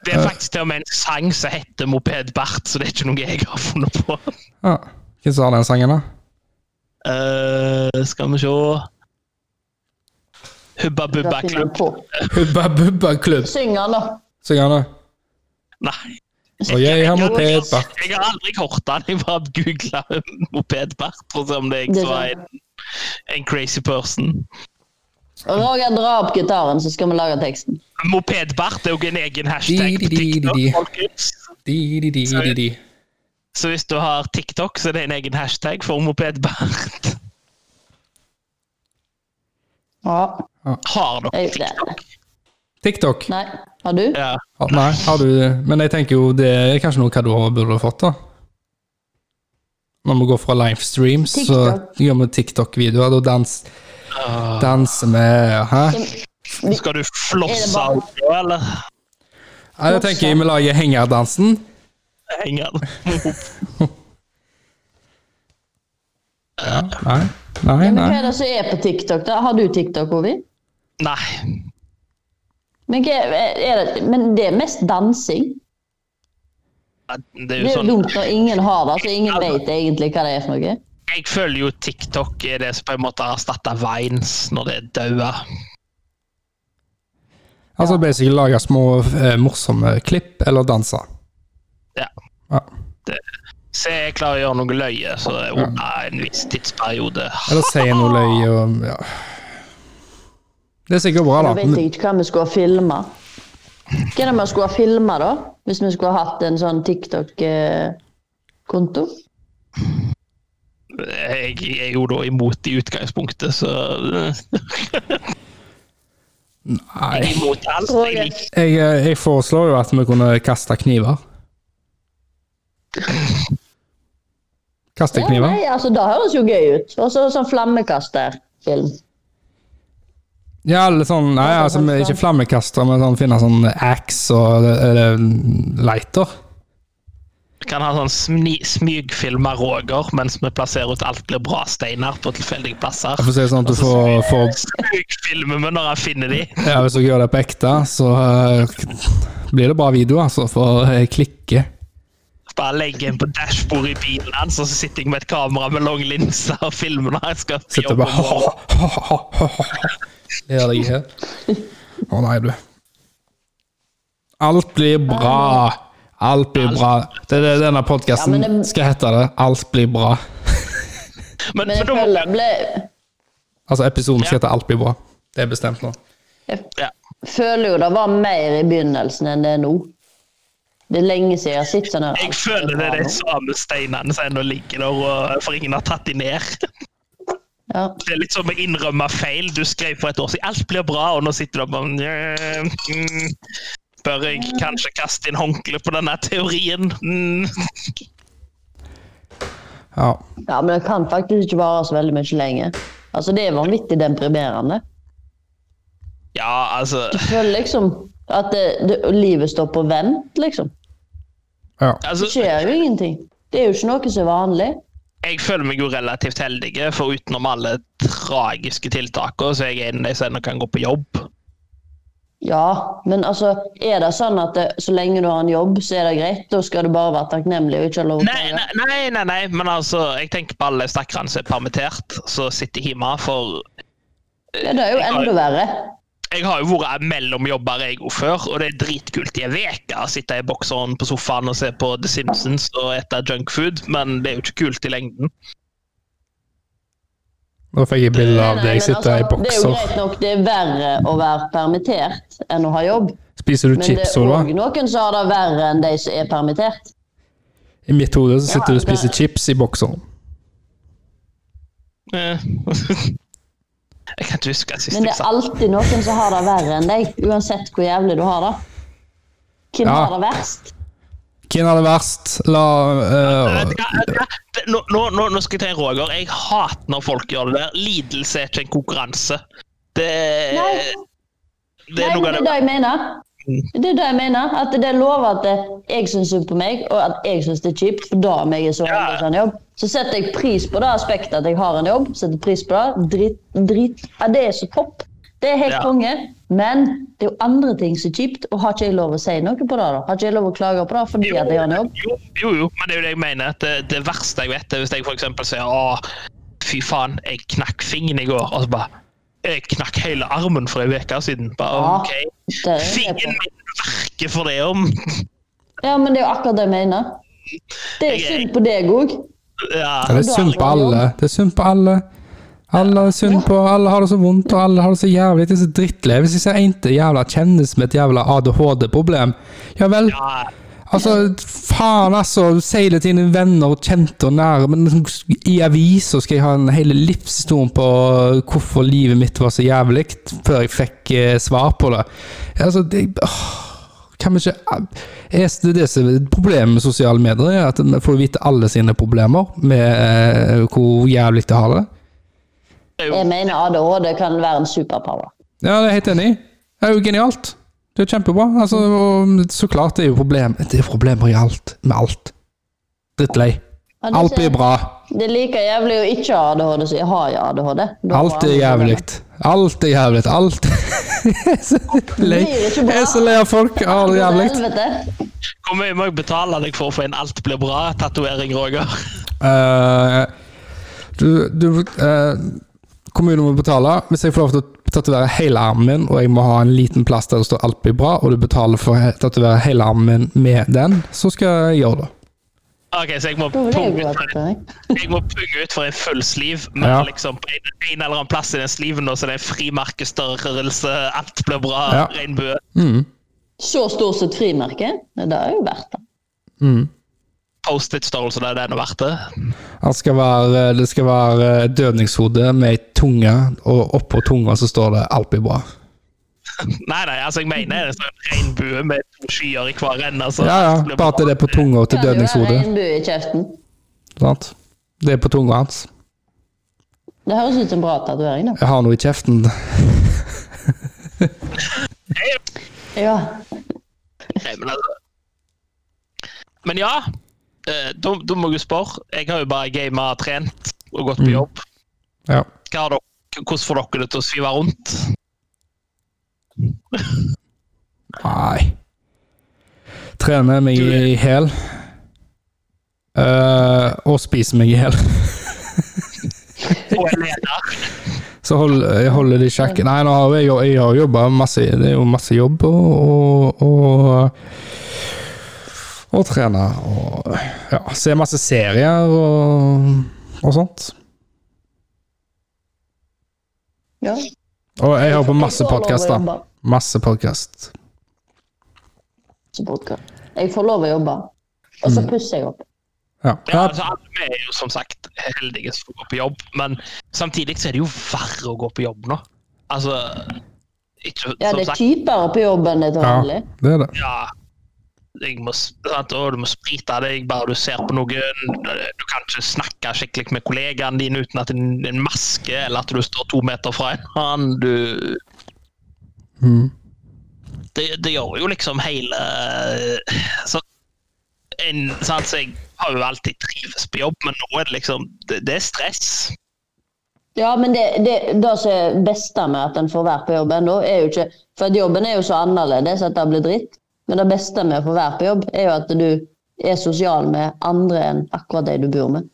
S3: det er faktisk til og med en sang som heter Mopedbart, så det er ikke noe jeg har funnet på.
S2: Ja. Hvem som har den sangen, da?
S3: Eh, skal vi se Hubba Bubba Klubb.
S2: Hubba Bubba Klubb.
S1: Syng den, da.
S2: Syng den, da.
S3: Nei.
S2: Og jeg har
S3: aldri-
S2: mopedbart.
S3: Jeg har aldri hørt den. Jeg bare googla mopedbart for å se om det er jeg
S1: Det er
S3: som er en, en crazy person.
S1: Og Roger, dra opp gitaren, så skal vi lage teksten.
S3: Mopedbart er jo en egen hashtag på
S2: Di, di, di,
S3: TikTok.
S2: di, di.
S3: folkens.
S2: Di, di, di, di, di.
S3: Så hvis du har TikTok, så er det en egen hashtag for mopedbart.
S1: Ja.
S3: Har dere
S1: Jeg, det.
S3: TikTok?
S2: TikTok.
S1: Nei. Har du?
S3: Ja.
S2: Ja, Nei, har du Men jeg tenker jo det er kanskje noe hva du har- burde ha fått, da. Når vi går fra livestreams, så
S1: TikTok.
S2: gjør vi TikTok-videoer. Da dans, danser vi Hæ?
S3: Skal du
S1: Er det
S3: flosse
S1: bare-
S3: av det, eller
S2: Nei, da tenker jeg vi lager hengerdansen.
S3: henger den opp?
S2: Ja, nei, nei,
S1: Ja, men hva
S2: nei.
S1: er det som er på TikTok? da? Har du TikTok, Ovi?
S3: Nei.
S1: Men, hva er er det, men det er mest dansing.
S3: Det er
S1: Det
S3: jo
S1: er jo
S3: sånn
S1: dumt når ingen har det, så ingen vet egentlig hva det er for noe.
S3: Jeg føler jo TikTok er det som på en måte har erstatta Vines når det er daua.
S2: Altså basically lage små eh, morsomme klipp eller danser.
S3: Ja.
S2: Ja.
S3: Så jeg klarer å gjøre noe løye så er det under en viss tidsperiode.
S2: Eller si noe løye og ja. Det er sikkert bra,
S1: Da
S2: da.
S1: vet jeg ikke hva vi skulle ha filma. Hva er det vi skulle ha filma, da? Hvis vi skulle ha hatt en sånn TikTok-konto?
S3: Jeg er jo da imot i utgangspunktet, så
S2: Nei.
S3: Jeg er imot alt. Jeg liker
S2: Jeg, eh, jeg foreslår jo at vi kunne kaste kniver. Kaste
S1: Ja,
S2: kniver?
S1: nei, altså, det høres jo gøy ut. Og så sånn flammekasterfilm.
S2: Ja, eller sånn Nei, altså, vi- ikke flammekaster, men sånn, finne sånn axe og eller, lighter.
S3: kan ha sånn smi- smygfilm av Roger mens vi plasserer ut alt blir bra-steiner på tilfeldige plasser.
S2: Jeg får si det sånn at
S1: Altså,
S2: du får, får
S3: Smygfilmer vi når han finner de.
S2: ja, Hvis du gjør det på ekte, så eh, blir det bra video, altså, for jeg klikker.
S3: Bare legger en på dashbordet i bilen hans, og så sitter jeg med et kamera med lang linse og filmer når jeg skal
S2: Sitter og bare Ler deg i hjel. Å nei, du. Alt blir bra. Alt blir bra. Det er det denne podkasten
S1: Ja, men det-
S2: skal hete. det. Alt blir bra.
S1: Men
S3: Men, men
S1: jeg
S3: da må
S1: føler, ble,
S2: Altså, episoden
S3: Ja.
S2: skal hete Alt blir bra. Det er bestemt nå.
S3: ja.
S1: føler jo det var mer i begynnelsen enn det er nå. Det er lenge siden jeg har sett sånn her.
S3: Jeg føler det er de samme steinene som ennå ligger der, og for ingen har tatt de ned.
S1: Ja.
S3: Det er litt som å innrømme feil. Du skrev for et år siden 'alt blir bra', og nå sitter du og bare «Nja, mm, Bør jeg
S1: Mm.
S3: kanskje kaste inn håndkleet på denne teorien? Mm.
S2: Ja.
S1: ja, men det kan faktisk ikke vare så veldig mye lenger. Altså, det er vanvittig deprimerende.
S3: Ja, altså
S1: Jeg føler liksom at det, det, livet står på vent, liksom.
S2: ja.
S1: Det
S3: altså,
S1: skjer jo ingenting. Det er jo ikke noe som er vanlig.
S3: Jeg føler meg jo relativt heldig, for utenom alle tragiske tiltakene, så er jeg en av de som ennå kan gå på jobb.
S1: Ja, men altså, er det sånn at det, så lenge du har en jobb, så er det greit? Da skal du bare være takknemlig og ikke ha lov til å
S3: Nei,
S1: klage?
S3: nei, nei, nei, nei, men altså, jeg tenker på alle stakkarene som er permittert, som sitter hjemme. For
S1: Ja, det er jo
S3: Jeg har-
S1: enda verre.
S3: Jeg har jo vært mellom jobber jeg og før, og det er dritkult i en uke å sitte i bokseren på sofaen og se på The Simpsons og spise junkfood, men det er jo ikke kult i lengden.
S2: Nå fikk jeg bilde av
S1: Nei, nei,
S2: deg
S1: men
S2: sitte i
S1: altså, Det er jo
S2: bokser.
S1: greit nok, det er verre å være permittert enn å ha jobb.
S2: Spiser du
S1: Men det
S2: chips
S1: er
S2: òg,
S1: òg
S2: da?
S1: noen som har det verre enn de som er permittert.
S2: I mitt hode så
S1: Ja,
S2: sitter du og spiser
S1: det-
S2: chips i bokseren.
S3: Eh. Jeg kan ikke huske sist
S1: Men det er
S3: jeg sa
S1: alltid noen som har det verre enn deg, uansett hvor jævlig du har det. Hvem
S2: Ja.
S1: har det verst?
S2: Hvem er det verst? La eh,
S3: Vet du hva, vet du hva? Det- nå, nå, nå- nå skal jeg ta en Roger. Jeg hater når folk gjør det der. Lidelse er ikke en konkurranse. Det,
S1: Nei,
S3: det
S1: nei
S3: er noe
S1: men det
S3: av det
S1: er det
S3: Mm.
S1: jeg mener. Det er det jeg mener. At det er lov at det- jeg syns synd på meg, og at jeg syns det er kjipt, for da om jeg er så
S3: Ja.
S1: heldig som har en jobb. Så setter jeg pris på det aspektet at jeg har en jobb. setter pris på Det Drit, drit, ja, det er så topp. Det er helt
S3: Ja.
S1: konge. Men det er jo andre ting som er kjipt, og har ikke jeg lov å si noe på det? da? Har ikke jeg lov å klage på det fordi at jeg har en jobb?
S3: Jo, jo, jo, men det er jo det jeg mener. at Det, det verste jeg vet, er hvis jeg for eksempel sier å, fy faen, jeg knakk fingeren i går. Og så bare Jeg knakk hele armen for ei uke siden. Bare,
S1: Ja,
S3: OK.
S1: det er jeg med på.
S3: Fingeren min verker for det om
S1: Ja, men det er jo akkurat det jeg mener. Det er
S3: Jeg-
S1: synd på deg òg.
S3: ja.
S2: Ja, det er synd på alle. Det er synd på alle. Alle er synd på, alle har det så vondt, og alle har det så jævlig. Det er så drittlig. Hvis jeg ser en til jævla kjennes med et jævla ADHD-problem, ja vel.
S3: ja.
S2: Altså, faen altså. Si det til dine venner og kjente og nære, men liksom i avisa skal jeg ha en hele livshistorien på hvorfor livet mitt var så jævlig, før jeg fikk eh, svar på det. Altså, det åh, kan vi ikke er det det som er Problemet med sosiale medier er at vi får vite alle sine problemer med eh, hvor jævlig de har det.
S3: Det er jo-
S1: Jeg mener ADHD kan være en superpower.
S2: Ja, det er jeg helt enig i. Det er jo genialt. Det er kjempebra. Altså, og så klart det er jo problem. Det er problemer i alt. Med alt. Drittlei.
S1: Ja, det
S2: Alt
S1: ser-
S2: blir bra.
S1: Det er like jævlig å ikke ha ADHD som å ha ADHD. Da har
S2: Alt er
S1: alle
S2: jævlig.
S1: problemer.
S2: Alt er jævlig. Alt Jeg er så lei.
S1: Det blir ikke bra.
S2: Jeg er så lei av folk. Alt er jævlig.
S1: Helvete.
S3: Hvor mye må jeg betale deg for å få en alt blir bra-tatovering, Roger?
S2: Eh, du, du eh, Kommunen må betale. Hvis jeg får lov til å tatovere hele armen min, og jeg må ha en liten plass der det står 'alt blir bra', og du betaler for å he- tatovere hele armen min med den, så skal jeg gjøre det.
S3: Ok, så jeg må
S1: Da vil jeg
S3: punge
S1: jo ha
S3: ut for en,
S1: tatovering.
S3: jeg må punge ut for en full sliv, men
S2: Ja.
S3: liksom på en, en eller annen plass i den sliven nå, så det er frimerkestørrelse, alt blir bra,
S2: Ja.
S3: regnbue.
S2: Mm,
S1: Så stort som et frimerke? Nei, Det er jo verdt det.
S2: mm.
S3: Post-it-størrelse, det er det noe verdt det.
S2: Det skal være, det skal være et dødningshode med ei tunge, og oppå tunga så står det 'alt blir bra'.
S3: Nei, nei, altså jeg mener det er en regnbue med to skyer i hver ende. Altså,
S2: Ja,
S3: alt
S2: ja.
S3: blir
S2: Bare at det er på tunga
S1: Kan
S2: til
S1: jo være
S2: dødningshodet.
S1: regnbue i kjeften.
S2: Sant? Det er på tunga hans.
S1: Det høres ut som en bra tatovering, da.
S2: Jeg har noe i kjeften.
S1: Ja.
S3: Nei, men, altså. men ja, eh, da da må jeg jo spørre. Jeg har jo bare gama, trent og
S2: Mm.
S3: gått på jobb.
S2: Ja.
S3: Hva har dere, hvordan får dere det til å svive rundt?
S2: Nei. Trener meg i hæl. Eh, og spiser meg i hæl.
S3: Og en leder.
S2: Så hold, jeg holder det i sjakk. Nei, nå har jeg, jo- jeg har jobba masse. Det er jo masse jobb og og, og, og trene og ja, se masse serier og, og sånt.
S1: ja.
S2: Og jeg hører på
S1: Jeg
S2: masse
S1: får lov å
S2: podkaster.
S1: jobbe.
S2: Masse podkast.
S1: Så podcast. Jeg får lov å jobbe. Og
S2: Mm.
S1: så pusser jeg opp.
S2: Ja.
S3: Ja, altså, alle vi er jo som sagt heldige som får gå på jobb, men samtidig så er det jo verre å gå på jobb nå. Altså ikke,
S1: Ja,
S3: Som
S1: det er
S3: sagt,
S1: kjipere på jobb enn det er til
S2: ja,
S1: vanlig.
S2: det er det.
S3: ja, jeg må, s- sant, å, du må sprite deg bare du ser på noen. Du kan ikke snakke skikkelig med kollegaene dine uten at det er en maske, eller at du står to meter fra en annen. Du
S2: Mm.
S3: det, det gjør jo liksom hele så, en, sant, så Jeg har jo alltid trives på jobb, men nå er det liksom Det, det er stress.
S1: Ja, men det, det, det som er beste med at en får være på jobb ennå, er jo ikke For at jobben er jo så annerledes at det blir dritt. Men det beste med å få være på jobb, er jo at du er sosial med
S2: Mm.
S1: andre enn akkurat de du bor med.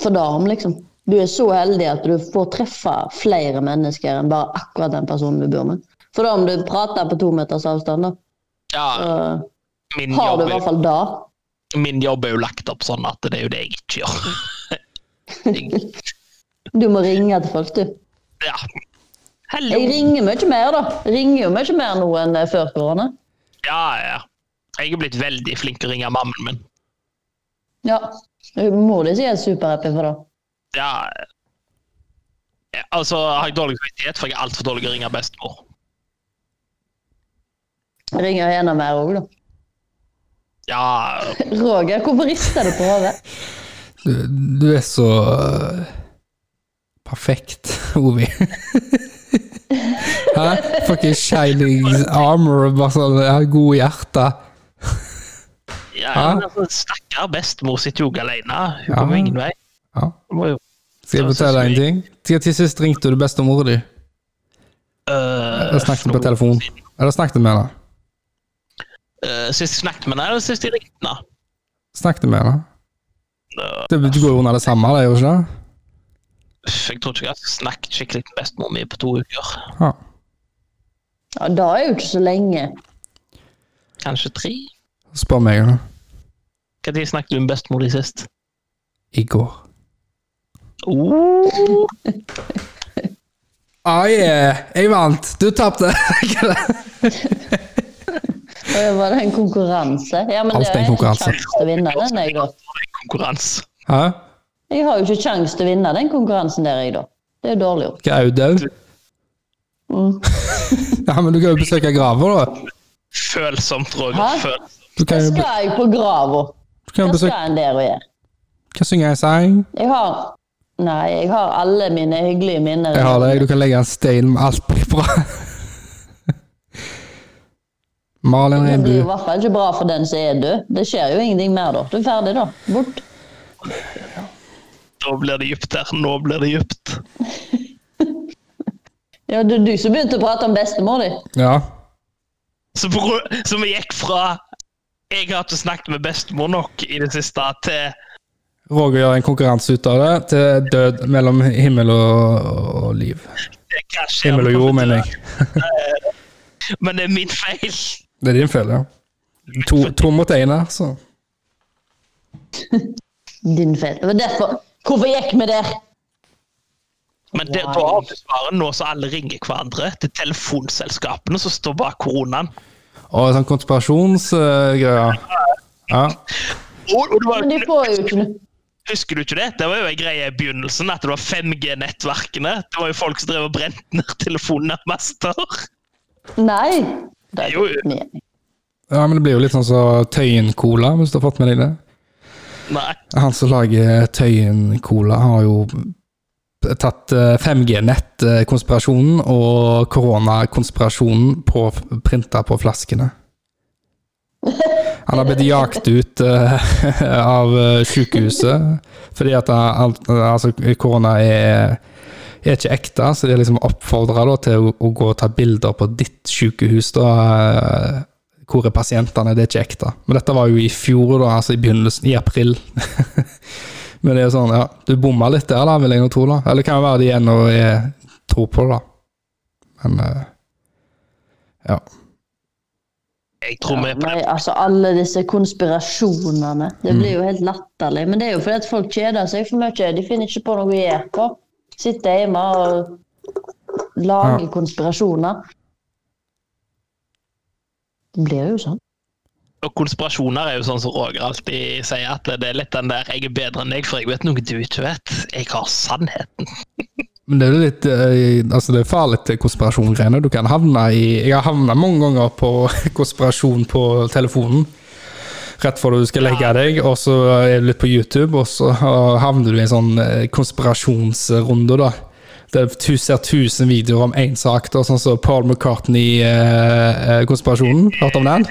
S1: For dagen, liksom. Du er så heldig at du får treffe flere mennesker enn bare akkurat den personen du bor med. For da om du prater på to meters avstand, da,
S3: Ja,
S1: så
S3: min
S1: har du
S3: jobb,
S1: i
S3: er-
S1: hvert fall det.
S3: min jobb er jo lagt opp sånn at det er jo det jeg ikke gjør. Jeg-
S1: Du må ringe til folk, du.
S3: ja.
S1: Jeg ringer mye mer, da. Ringer jo mye mer nå enn eh, før korona.
S3: Ja, ja. Jeg er blitt veldig flink til å ringe mammaen min.
S1: Ja. Mor di er superhappy for det.
S3: Ja. Ja, Altså, jeg har jeg dårlig samvittighet, for jeg er altfor dårlig til å ringe bestemor.
S1: Ringer henne mer òg, da.
S3: Ja,
S1: Roger, hvorfor rister du på hodet?
S2: Du, du er så øh, perfekt, Ovi. Hæ? Fucking shining armor, bare sånn ja, god hjerte.
S3: ja
S2: Hæ?
S3: men altså, Stakkar bestemor sitter jo alene. Hun
S2: Ja.
S3: kommer ingen vei.
S2: Ja.
S3: Hun Må jo,
S2: Skal jeg
S3: Så- så
S2: fortelle deg en
S3: skal
S2: ting? Til til sist ringte du bestemora di.
S3: øh,
S2: Eller snakket
S3: for
S2: på
S3: noe
S2: telefon.
S3: siden.
S2: Eller snakket med henne.
S3: Øh, sist jeg snakket med henne, eller sist jeg ringte henne?
S2: Snakket med henne.
S3: Øh,
S2: Det går jo under det samme, det gjør ikke det?
S3: Jeg tror ikke jeg har snakket skikkelig med bestemor mi på to uker.
S2: Ja.
S1: Ja, Det er jo ikke så lenge.
S3: Kanskje tre?
S2: Spør meg henne.
S3: Når snakket du med bestemor di sist?
S2: I går.
S3: Oh.
S2: Ah, yeah. Jeg vant! Du tapte!
S1: Og det var det en konkurranse. Ja, men
S2: Alt
S1: det
S2: er en
S1: er ikke
S2: konkurranse.
S1: kjangs til å vinne den, jeg, da.
S3: Konkurranse.
S2: Hæ?
S1: Jeg har jo ikke kjangs til å vinne den konkurransen der, jeg, da. Det er jo dårlig gjort.
S2: Hva, er hun død?
S1: Mm.
S2: Ja, men du kan jo besøke graver, da.
S3: Følsomt, Roger.
S1: Hæ?
S3: Følsomt.
S2: Du kan
S1: Hva
S2: jo, Eh, be-
S1: skal jeg på grava?
S2: du kan jo
S1: Hva
S2: besøke
S1: skal en der og gjøre?
S2: Hva synger jeg sang?
S1: Jeg har Nei, jeg har alle mine hyggelige minner.
S2: Jeg har deg. Du kan legge en stein med alt blir bra. Malin
S1: Det blir jo i
S2: Reimbu.
S1: hvert fall ikke bra for den som er død. Det skjer jo ingenting mer da. Du er ferdig, da. Bort.
S3: Nå blir det dypt der. Nå blir det dypt.
S1: Ja, det er du som begynte å prate om bestemor di.
S2: Ja.
S3: Så, bro, så vi gikk fra jeg har ikke snakket med bestemor nok i det siste, til
S2: Roger gjør en konkurranse ut av det, til død mellom himmel og, og liv.
S3: til hva skjer
S2: Himmel
S3: når
S2: og jord,
S3: vi
S2: mener
S3: dør.
S2: jeg.
S3: Men det er min feil.
S2: Det er din feil, ja. To, to mot én her, så.
S1: Din feil. Det var derfor. Hvorfor gikk vi der?
S3: Men det, da har vi svaret nå så alle ringer hverandre til telefonselskapene som står bak koronaen.
S2: Og sånn konspirasjonsgreier. Ja.
S3: Og, og det var,
S1: Men de får jo ikke noe.
S3: husker du ikke det? Det var jo en greie i begynnelsen, at det var 5G-nettverkene. Det var jo folk som drev og brente ned telefonnetmaster.
S1: Nei. Det er
S3: Jo,
S1: jo
S3: jo.
S2: ja, men det blir jo litt sånn som Tøyen-cola, hvis du har fått med deg det.
S3: Nei.
S2: Han som lager Tøyen Cola, har jo tatt eh, 5G-nett-konspirasjonen og koronakonspirasjonen på, printa på flaskene. Han har blitt jagt ut eh, av eh, sykehuset fordi at han- alt- altså, korona er, er ikke ekte, så de er liksom oppfordra til å, å gå og ta bilder på ditt sykehus. da, eh, hvor er pasientene? Det er ikke ekte. Men dette var jo i fjor, da, altså i begynnelsen, i april. Men det er jo sånn, ja, du bomma litt der, da, vil jeg nå tro. da. Eller det kan jo være de ennå er- tror på det, da. Men eh, ja.
S3: Jeg tror vi er på
S1: Nei, altså alle disse konspirasjonene. Det blir jo helt latterlig. Men det er jo fordi at folk kjeder seg for mye. De finner ikke på noe å gjøre på. Sitter hjemme og lager
S2: Ja.
S1: konspirasjoner. Det blir jo sånn.
S3: Og konspirasjoner er jo sånn som Roger alltid sier, at det er litt den der 'jeg er bedre enn deg, for jeg vet noe du ikke vet'. Jeg har sannheten.
S2: Men det er jo litt eh, altså det er farlig til konspirasjongreiene. Du kan havne i Jeg har havna mange ganger på konspirasjon på telefonen. Rett før du skal legge deg, og så er du litt på YouTube, og så havner du i en sånn eh, konspirasjonsrunde, da. Der du tu- ser tusen videoer om én sak, da, sånn som Paul eh, McCartney-konspirasjonen. Hørt om den?
S3: Er du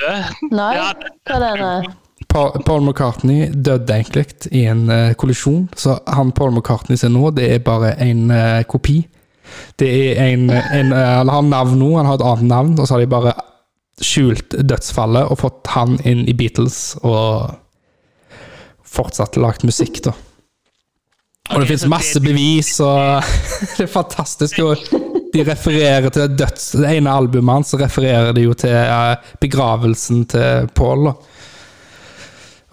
S3: død?
S1: Nei,
S3: Ja,
S1: hva er det?
S2: Paul, Paul McCartney døde egentlig i en eh, kollisjon, så han Paul McCartney ser nå, det er bare en eh, kopi. Det er en, en eh, Han har navn nå, han har et annet navn, og så har de bare skjult dødsfallet og fått han inn i Beatles og fortsatt lagt musikk, da. Og det finnes masse bevis, og det er fantastisk. Og de refererer til døds... Det ene albumet hans så refererer de jo til eh, begravelsen til Paul. da.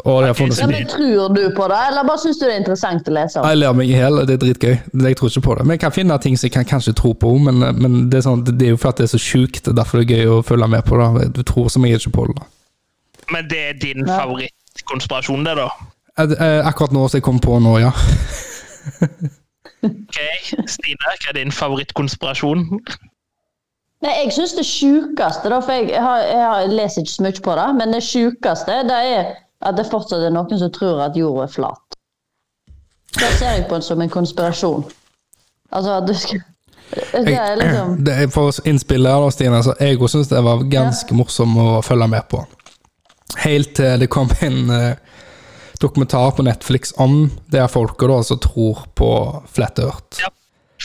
S2: Og det har funnet
S1: Ja, men Tror du på det, eller bare syns du det er interessant å lese? om?
S2: Jeg ler meg i hjel, det er dritgøy. Jeg tror ikke på det. Men jeg kan finne ting som jeg kan kanskje tro på, men, men det, er sånn, det er jo for at det er så sjukt. det er Derfor det er gøy å følge med på det. Du tror som jeg ikke på det. da.
S3: Men det er din
S1: Ja.
S3: favorittkonspirasjon, det, da?
S2: Eh, eh, Akkurat nå som jeg kom på nå, ja.
S3: Ok, Stine, hva er din favorittkonspirasjon?
S1: Nei, Jeg syns det sjukeste, da, for jeg, jeg, har, jeg har, leser ikke så mye på det, men det sjukeste det er at det fortsatt er noen som tror at jorda er flat. Det ser jeg på det som en konspirasjon. Altså at du skal Det er liksom
S2: Det er for innspillet, da, Stine, så jeg òg syns det var ganske morsom å følge med på. Helt til det kom en eh, dokumentar på Netflix om det her folket da, som tror på Flat Earth.
S3: Ja,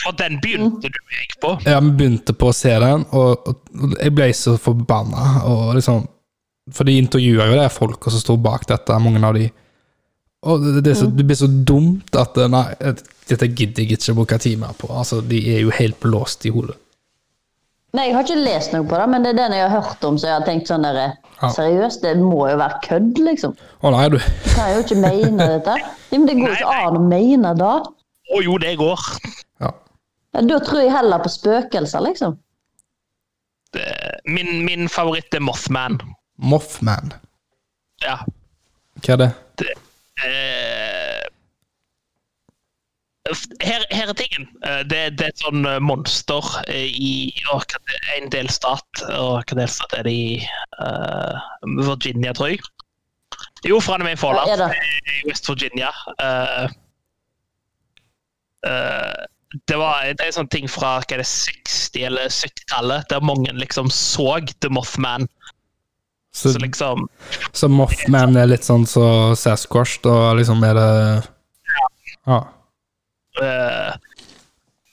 S3: for den begynte du med, gikk på.
S2: Ja, vi begynte på å se den, og, og jeg ble så forbanna. Og liksom, for de intervjuer jo det folka som sto bak dette, mange av de. Og det, det, er så, det blir så dumt at eh, Nei, eh, dette gidder jeg ikke å bruke timer på. Altså, De er jo helt blåst i hodet.
S1: Nei, jeg har ikke lest noe på det, men det er den jeg har hørt om, så jeg har tenkt sånn der,
S2: Ja.
S1: Seriøst, det må jo være kødd, liksom.
S2: Å nei, du.
S1: Du kan jo ikke mene dette. Ja, men det går jo ikke an å mene det.
S3: Å jo, det går.
S2: Ja.
S1: Ja, Da tror jeg heller på spøkelser, liksom.
S3: Det- Min, min favoritt er Mothman.
S2: Mothman.
S3: Ja.
S2: Hva er det?
S3: Det, eh, her, her er tingen. Eh, Det, det er et sånn eh, monster eh, i å, hva det, en delstat og Hva delstat er det i eh, Virginia, tror jeg. Jo, for han er med i Fallout.
S1: Ja, er det?
S3: I West Virginia. Eh, eh, det, var, det er en sånn ting fra hva er det, 60- eller 70-tallet, der mange liksom så The Mothman.
S2: Så,
S3: Så liksom
S2: så Mothman er litt sånn så Sasquatch, da liksom er det Ja.
S3: Eh,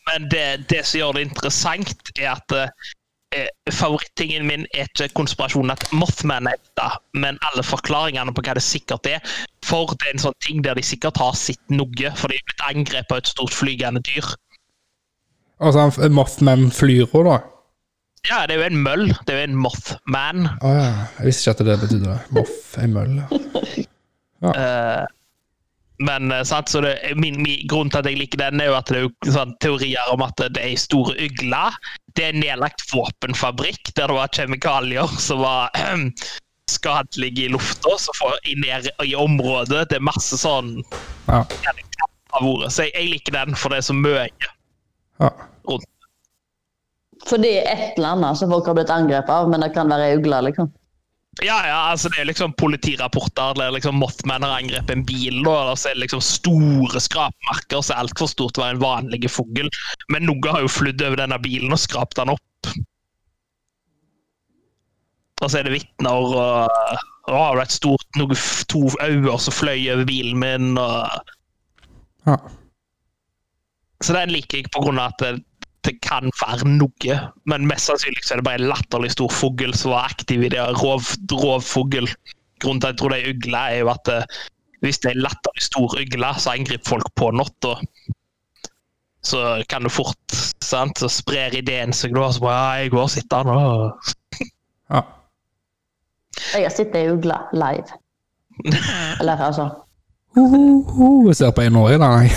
S3: men det, det som gjør det interessant, er at eh, favorittingen min er ikke konspirasjonen at Mothman er ekte, men alle forklaringene på hva det sikkert er. For det er en sånn ting der de sikkert har sett noe, for de er blitt angrepet av et stort flygende dyr.
S2: Og så han- Mothman flyr jo, da.
S3: Ja, det er jo en møll. Det er jo en Mothman.
S2: Å ja. Jeg visste ikke at det betydde det. Moff, ei mølle.
S3: Eh, men eh, sant, så det, min, min, grunnen til at jeg liker den, er jo at det er jo sånn, teorier om at det er i store ugler. Det er en nedlagt våpenfabrikk der det var kjemikalier som var skadelige i lufta, som får i, ned, i området. Det er masse sånn
S2: Ja.
S3: av ordet. Så jeg, jeg liker den, for det er så mye.
S2: Ja.
S3: rundt.
S1: For det er et eller annet som folk har blitt angrepet av, men det kan være ei ugle, liksom.
S3: Ja, ja, altså Det er liksom politirapporter der liksom Mothman har angrepet en bil. da, og så er det liksom store skrapmerker som er altfor store til å være en vanlig fugl. Men noe har jo flydd over denne bilen og skrapt den opp. Og så er det vitner og Å, det er et stort, noe, f- to øyne som fløy over bilen min. og...
S2: ja.
S3: Så den liker jeg på grunn av at det, det kan være noe. Men mest sannsynlig så er det bare en latterlig stor fugl som var aktiv i det. Rov, rovfugl. Grunnen til at jeg tror det er ugle, er jo at eh, hvis det er en latterlig stor ugle, så angriper folk på natta. Så kan du fort sant? Så sprer ideen seg da. Så bare, ja, jeg går og sitter her nå.
S2: ja.
S1: Jeg har sett ei ugle live. Eller altså
S2: Uhuhu, jeg ser på en år i dag.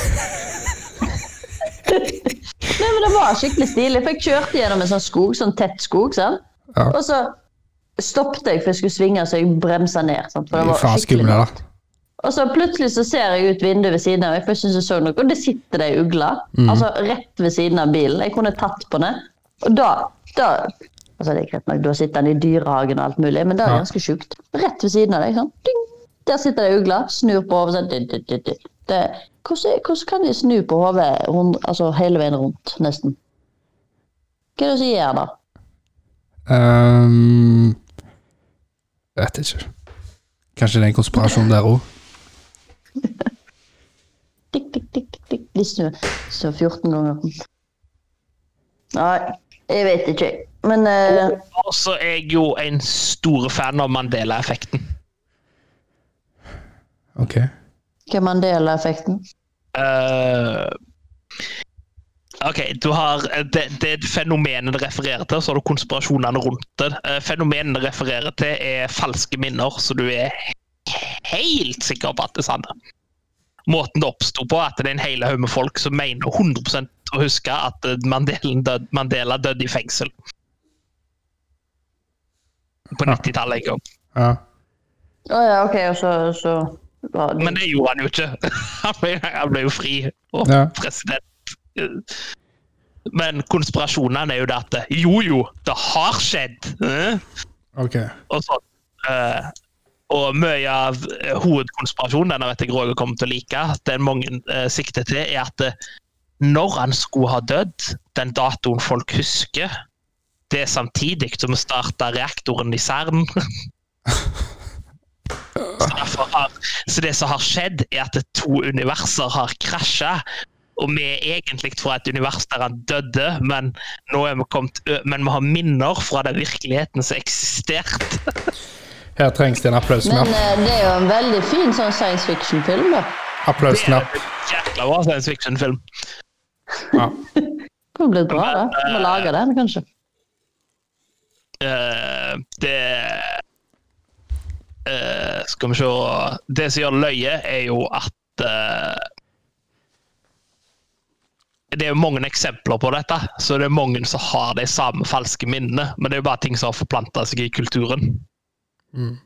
S1: Nei, men Det var skikkelig stilig. For jeg kjørte gjennom en sånn skog, sånn tett skog. sant?
S2: Ja.
S1: Og så stoppet jeg for jeg skulle svinge, så jeg bremsa ned. sant? For det var
S2: Faen
S1: skikkelig
S2: skummel, da.
S1: mørkt. Og så plutselig så ser jeg ut vinduet ved siden av meg, for jeg synes jeg så noe, og det sitter ei ugle. Altså rett ved siden av bilen. Jeg kunne tatt på den. Og da, da altså det er greit nok, da sitter den i dyrehagen og alt mulig, men det er
S2: Ja.
S1: ganske sjukt. Rett ved siden av deg. sånn. Ding! Der sitter ei ugle, snur på hodet sånn. Di, di, di, di. Det, hvordan, hvordan kan de snu på hodet rund- altså, hele veien rundt, nesten? Hva er det som gjør det?
S2: Ehm, jeg vet ikke. Kanskje det er en konspirasjon der òg?
S1: Tikk, tikk, tikk, tikk, tikk. De snur så 14 ganger. Nei, jeg vet ikke, jeg. Men eh,
S3: Og så er jeg jo en stor fan av Mandela-effekten.
S2: Ok.
S1: hva er Mandela-effekten?
S3: Eh, OK, du har eh, det, det fenomenet det refererer til, så har du konspirasjonene rundt det. Eh, Fenomenet det refererer til, er falske minner, så du er helt sikker på at det er sanne. Måten det oppsto på, at det er en hel haug med folk som mener 100 å huske at eh, Mandela død- Mandela døde i fengsel. På 90-tallet en gang.
S2: Ja.
S1: Å ja, OK, og så, så var det-
S3: Men det gjorde han jo ikke. Han ble, han ble jo fri og
S2: Ja.
S3: president. Men konspirasjonene er jo det at jo, jo, det har skjedd! eh,
S2: Ok.
S3: Og sånn. Eh, Og mye av eh, hovedkonspirasjonen denne vet jeg Roger kommer til å like, at den mange eh, sikter til, er at eh, når han skulle ha dødd, den datoen folk husker, det er samtidig som vi starta reaktoren i Cern. Så, derfor har, så det som har skjedd, er at to universer har krasja. Og vi er egentlig fra et univers der han døde, men, nå er vi, kommet, ø- men vi har minner fra den virkeligheten som eksisterte.
S2: Her trengs det en
S1: Men
S2: applausknapp.
S1: eh, det er jo en veldig fin sånn science fiction-film, da.
S2: Applausknapp.
S3: Jækla bra science fiction-film.
S2: Ja.
S1: Det kunne blitt bra, det. Vi lager den, kanskje.
S3: Eh, det eh, Skal vi se Det som gjør løye, er jo at eh, Det er jo mange eksempler på dette, så det er mange som har de samme falske minnene. Men det er jo bare ting som har forplanta seg i kulturen.
S2: Mm.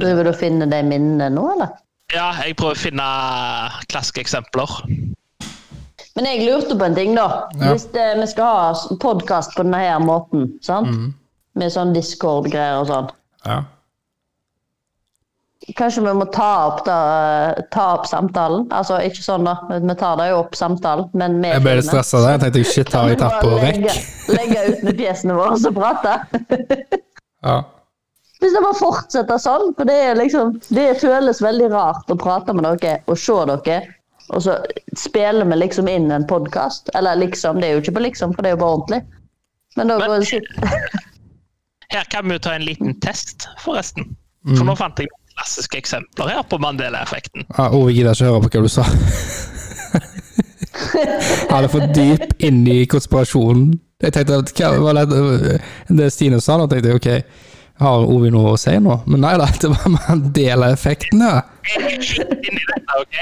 S1: Driver du og finner de minnene nå, eller?
S3: Ja, jeg prøver å finne klassiske eksempler.
S1: Men jeg lurte på en ting, da.
S2: Ja.
S1: Hvis det, vi skal ha podkast på denne her måten, sant?
S2: Mm.
S1: med sånn Discord-greier og sånn,
S2: Ja.
S1: kanskje vi må ta opp, da, eh, ta opp samtalen? Altså ikke sånn, da. Vi tar det jo opp samtalen, men med
S2: Jeg ble litt
S1: filmen.
S2: stressa der. Jeg tenkte shit, har jeg tatt på
S1: Bare
S2: rekk?
S1: legge, legge ut med fjesene våre og prate.
S2: Ja.
S1: Hvis det bare fortsetter sånn, for det, er liksom, det føles veldig rart å prate med dere og se dere, og så spiller vi liksom inn en podkast. Eller liksom, det er jo ikke på liksom, for det er jo bare ordentlig. Men da
S3: Men-
S1: går det sikkert
S3: Her kan vi jo ta en liten test, forresten. For nå fant jeg noen klassiske eksempler her på Mandela-effekten.
S2: Ja, Ove Ah, oh, jeg gidder ikke høre på hva du sa. Han er for dyp inni konspirasjonen. Jeg tenkte at hva var det, det Stine sa, da tenkte jeg ok, har Ovi noe å si nå? Men nei da, det var Mandela-effekten, ja.
S3: Jeg er ikke inne i dette, ok?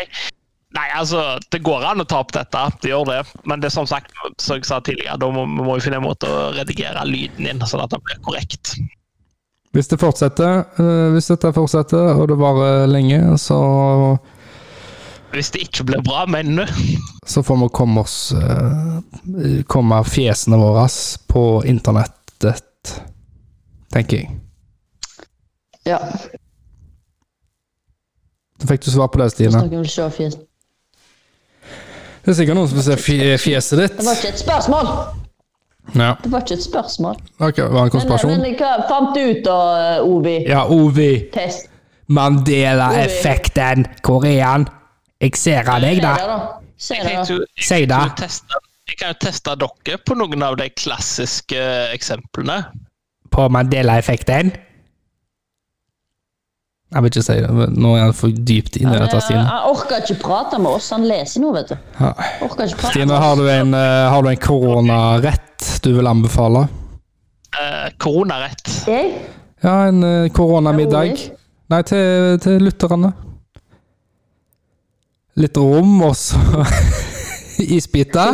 S3: Nei, altså, det går an å ta opp dette, det gjør det. Men det er som sagt, som jeg sa tidligere, da må vi må vi finne en måte å redigere lyden inn, sånn at den blir korrekt.
S2: Hvis det fortsetter, eh, hvis dette fortsetter, og det varer lenge, så,
S3: Hvis det ikke blir bra, mener du?
S2: så får vi komme oss eh, Komme fjesene våre på internettet, tenker jeg.
S1: Ja,
S2: Da fikk du svar på det,
S1: hvis
S2: Stine.
S1: dere vil se fjes.
S2: Det er sikkert noen som vil se fje- fjeset
S1: Det var
S2: ditt.
S1: ikke et spørsmål!
S2: Ja.
S1: Det var ikke et spørsmål.
S2: Ok, var det en
S1: Men,
S2: konspirasjon?
S1: men hva fant du ut da, Obi?
S2: Ja, Ovi.
S1: Test.
S2: Mandela-effekten. Korean. Jeg ser av deg,
S1: Se det,
S2: da.
S1: da. Se
S3: Jeg
S1: det,
S3: kan
S1: da.
S3: jo-
S2: Si
S3: jeg kan jo
S2: det.
S3: teste- Jeg kan jo teste dere på noen av de klassiske eh, eksemplene.
S2: På Mandela-effekten. Jeg vil ikke si det. men Nå er han for dypt inne i dette,
S1: Han,
S2: Stine.
S1: han Eh, orker ikke prate med oss, han leser nå, vet du.
S2: Ja.
S1: Orker ikke prate
S2: Stine, har du en, eh, har du en koronarett du vil anbefale?
S3: Eh, koronarett.
S1: Jeg?
S2: Ja, en eh, koronamiddag.
S1: Rolig.
S2: Nei, til, til lytterne. Litt rom, og så isbiter.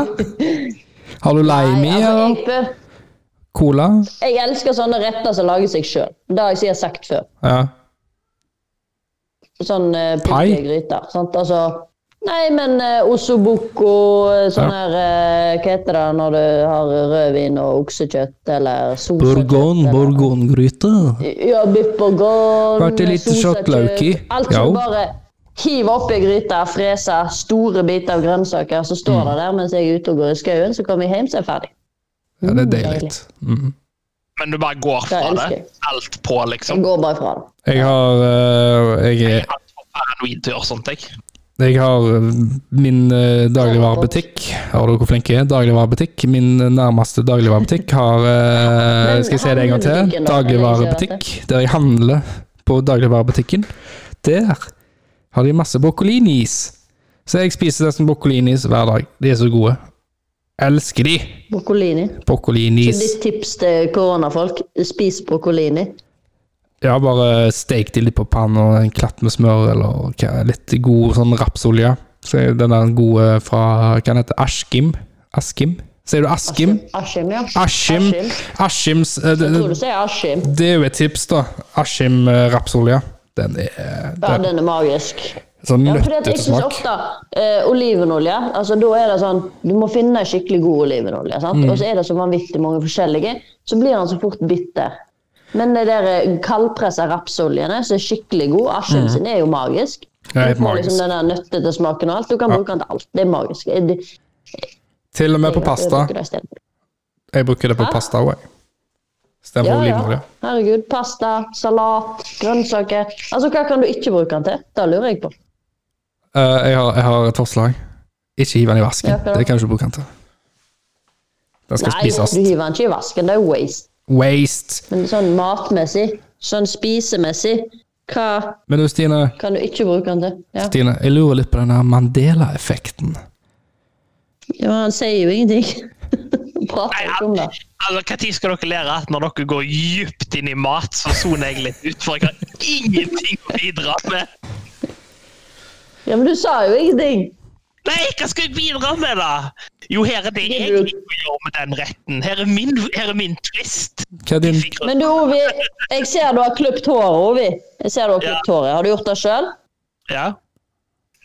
S2: Har du lime
S1: Nei,
S2: i,
S1: altså,
S2: eller?
S1: jeg bør-
S2: Cola?
S1: Jeg elsker sånne retter som lager seg sjøl. Det har jeg sikkert sagt før.
S2: Ja.
S1: Sånn uh,
S2: Pai?
S1: gryter. Sant? Altså, nei, men uh, osoboko, sånn
S2: Ja.
S1: her eh, Hva heter det når du har rødvin og oksekjøtt eller sosa?
S2: Bourgogne, bourgognegryte.
S1: Ja, biff bourgogne.
S2: Vært det litt
S1: sosa
S2: kjøttløk i?
S1: kjøtt, Alt som
S2: Jo.
S1: bare hiver oppi gryta, freser store biter av grønnsaker, så står
S2: Mm.
S1: det der mens jeg er ute og går i skauen, så kommer jeg hjem, så er jeg ferdig.
S2: Ja, det er
S1: Mm,
S2: deilig. Mm.
S3: Men du bare går
S1: Det
S3: fra
S1: elsker
S3: det.
S1: jeg.
S3: Alt på, liksom.
S1: Jeg går bare fra det.
S2: Jeg har eh, jeg, er-
S3: Alt for paranoid til å gjøre sånt, jeg.
S2: jeg har eh, min eh, dagligvarebutikk Hører du hvor flink jeg er? Dagligvarebutikk. Min eh, nærmeste dagligvarebutikk har eh,
S1: Men
S2: Skal jeg si det en gang til?
S1: handlebutikken da, kan jeg ikke gjøre
S2: Dagligvarebutikk der jeg handler på dagligvarebutikken. Der har de masse broccolinis. Så jeg spiser nesten broccolinis hver dag. De er så gode. Elsker de!
S1: Broccolini.
S2: Broccolinis.
S1: Ditt tips til koronafolk, spis broccolini.
S2: Ja, bare steik de litt på panna, og en klatt med smør eller hva- litt god sånn rapsolje. Så er den der gode fra Hva den heter Askim? Askim? Sier du Askim?
S1: Askim, ja.
S2: Askim. Ashims eh,
S1: Jeg tror
S2: det,
S1: du sier Askim.
S2: det er jo et tips, da. Askim eh, rapsolje. Den er
S1: Ja,
S2: den,
S1: den er magisk.
S2: sånn
S1: Ja, for jeg syns
S2: nøttesmak.
S1: ofte eh, olivenolje altså Da er det sånn Du må finne skikkelig god olivenolje. Sant?
S2: Mm.
S1: Og så er det så vanvittig mange forskjellige, så blir den så fort bitter. Men de der eh, kaldpressa rapsoljene som er skikkelig god, Askim sin er jo magisk.
S2: Mm. Ja, helt
S1: Du får
S2: magisk.
S1: liksom den der nøttete smaken og alt. Du kan bruke den til alt. Det er magisk. Jeg, jeg,
S2: Til og med på
S1: jeg
S2: pasta.
S1: bruker det i stedet.
S2: Jeg bruker det på
S1: Hæ?
S2: pasta òg. Stemmer
S1: Ja, ja.
S2: olivenolje.
S1: Herregud. Pasta, salat, grønnsaker. Altså, Hva kan du ikke bruke den til? Det lurer jeg på.
S2: Eh, jeg, har, jeg har et forslag. Ikke hiv den i vasken.
S1: Ja, hva da?
S2: det kan du ikke bruke den til. Den skal
S1: Nei,
S2: spises.
S1: du hiver den ikke i vasken. Det er waste.
S2: Waste!
S1: Men sånn matmessig, sånn spisemessig, hva
S2: Men du, Stine,
S1: kan du ikke bruke den til? Ja,
S2: Stine jeg lurer litt på den her Mandela-effekten.
S1: ja Han sier jo ingenting. Han Prater
S3: Nei,
S1: ikke om det.
S3: Altså, Hva tid skal dere lære at når dere går dypt inn i mat, så soner jeg litt ut, for jeg har ingenting å bidra med?
S1: Ja, Men du sa jo ingenting!
S3: Nei, hva skal jeg bidra med, da? Jo, her er det jeg gjør med den retten. Her er min, her er min twist.
S2: Hva er din
S1: Men du, Ovi, jeg ser du har klipt håret, Ovi. Jeg ser du Har klipt håret. Har du gjort det sjøl?
S3: Ja.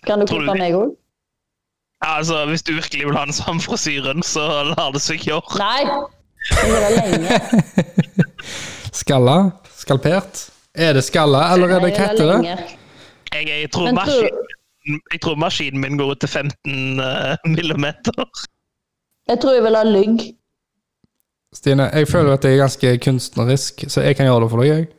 S1: Kan du
S3: Tror du
S1: klippe
S3: det?
S1: meg òg?
S3: Altså, Hvis du virkelig vil ha den samme frisyren, så lar det seg gjøre.
S1: Nei! Jeg vil ha lenge.
S2: skalla? Skalpert? Er det skalla, eller er det
S1: Jeg
S2: hva
S1: vil
S2: heter
S1: ha
S2: det?
S1: lenge.
S3: Jeg, jeg, tror
S1: Men tror-
S3: maskinen, jeg tror maskinen min går ut til 15 eh, millimeter.
S1: Jeg tror jeg vil ha lygg.
S2: Stine, jeg føler at jeg er ganske kunstnerisk, så jeg kan gjøre det for deg. Jeg,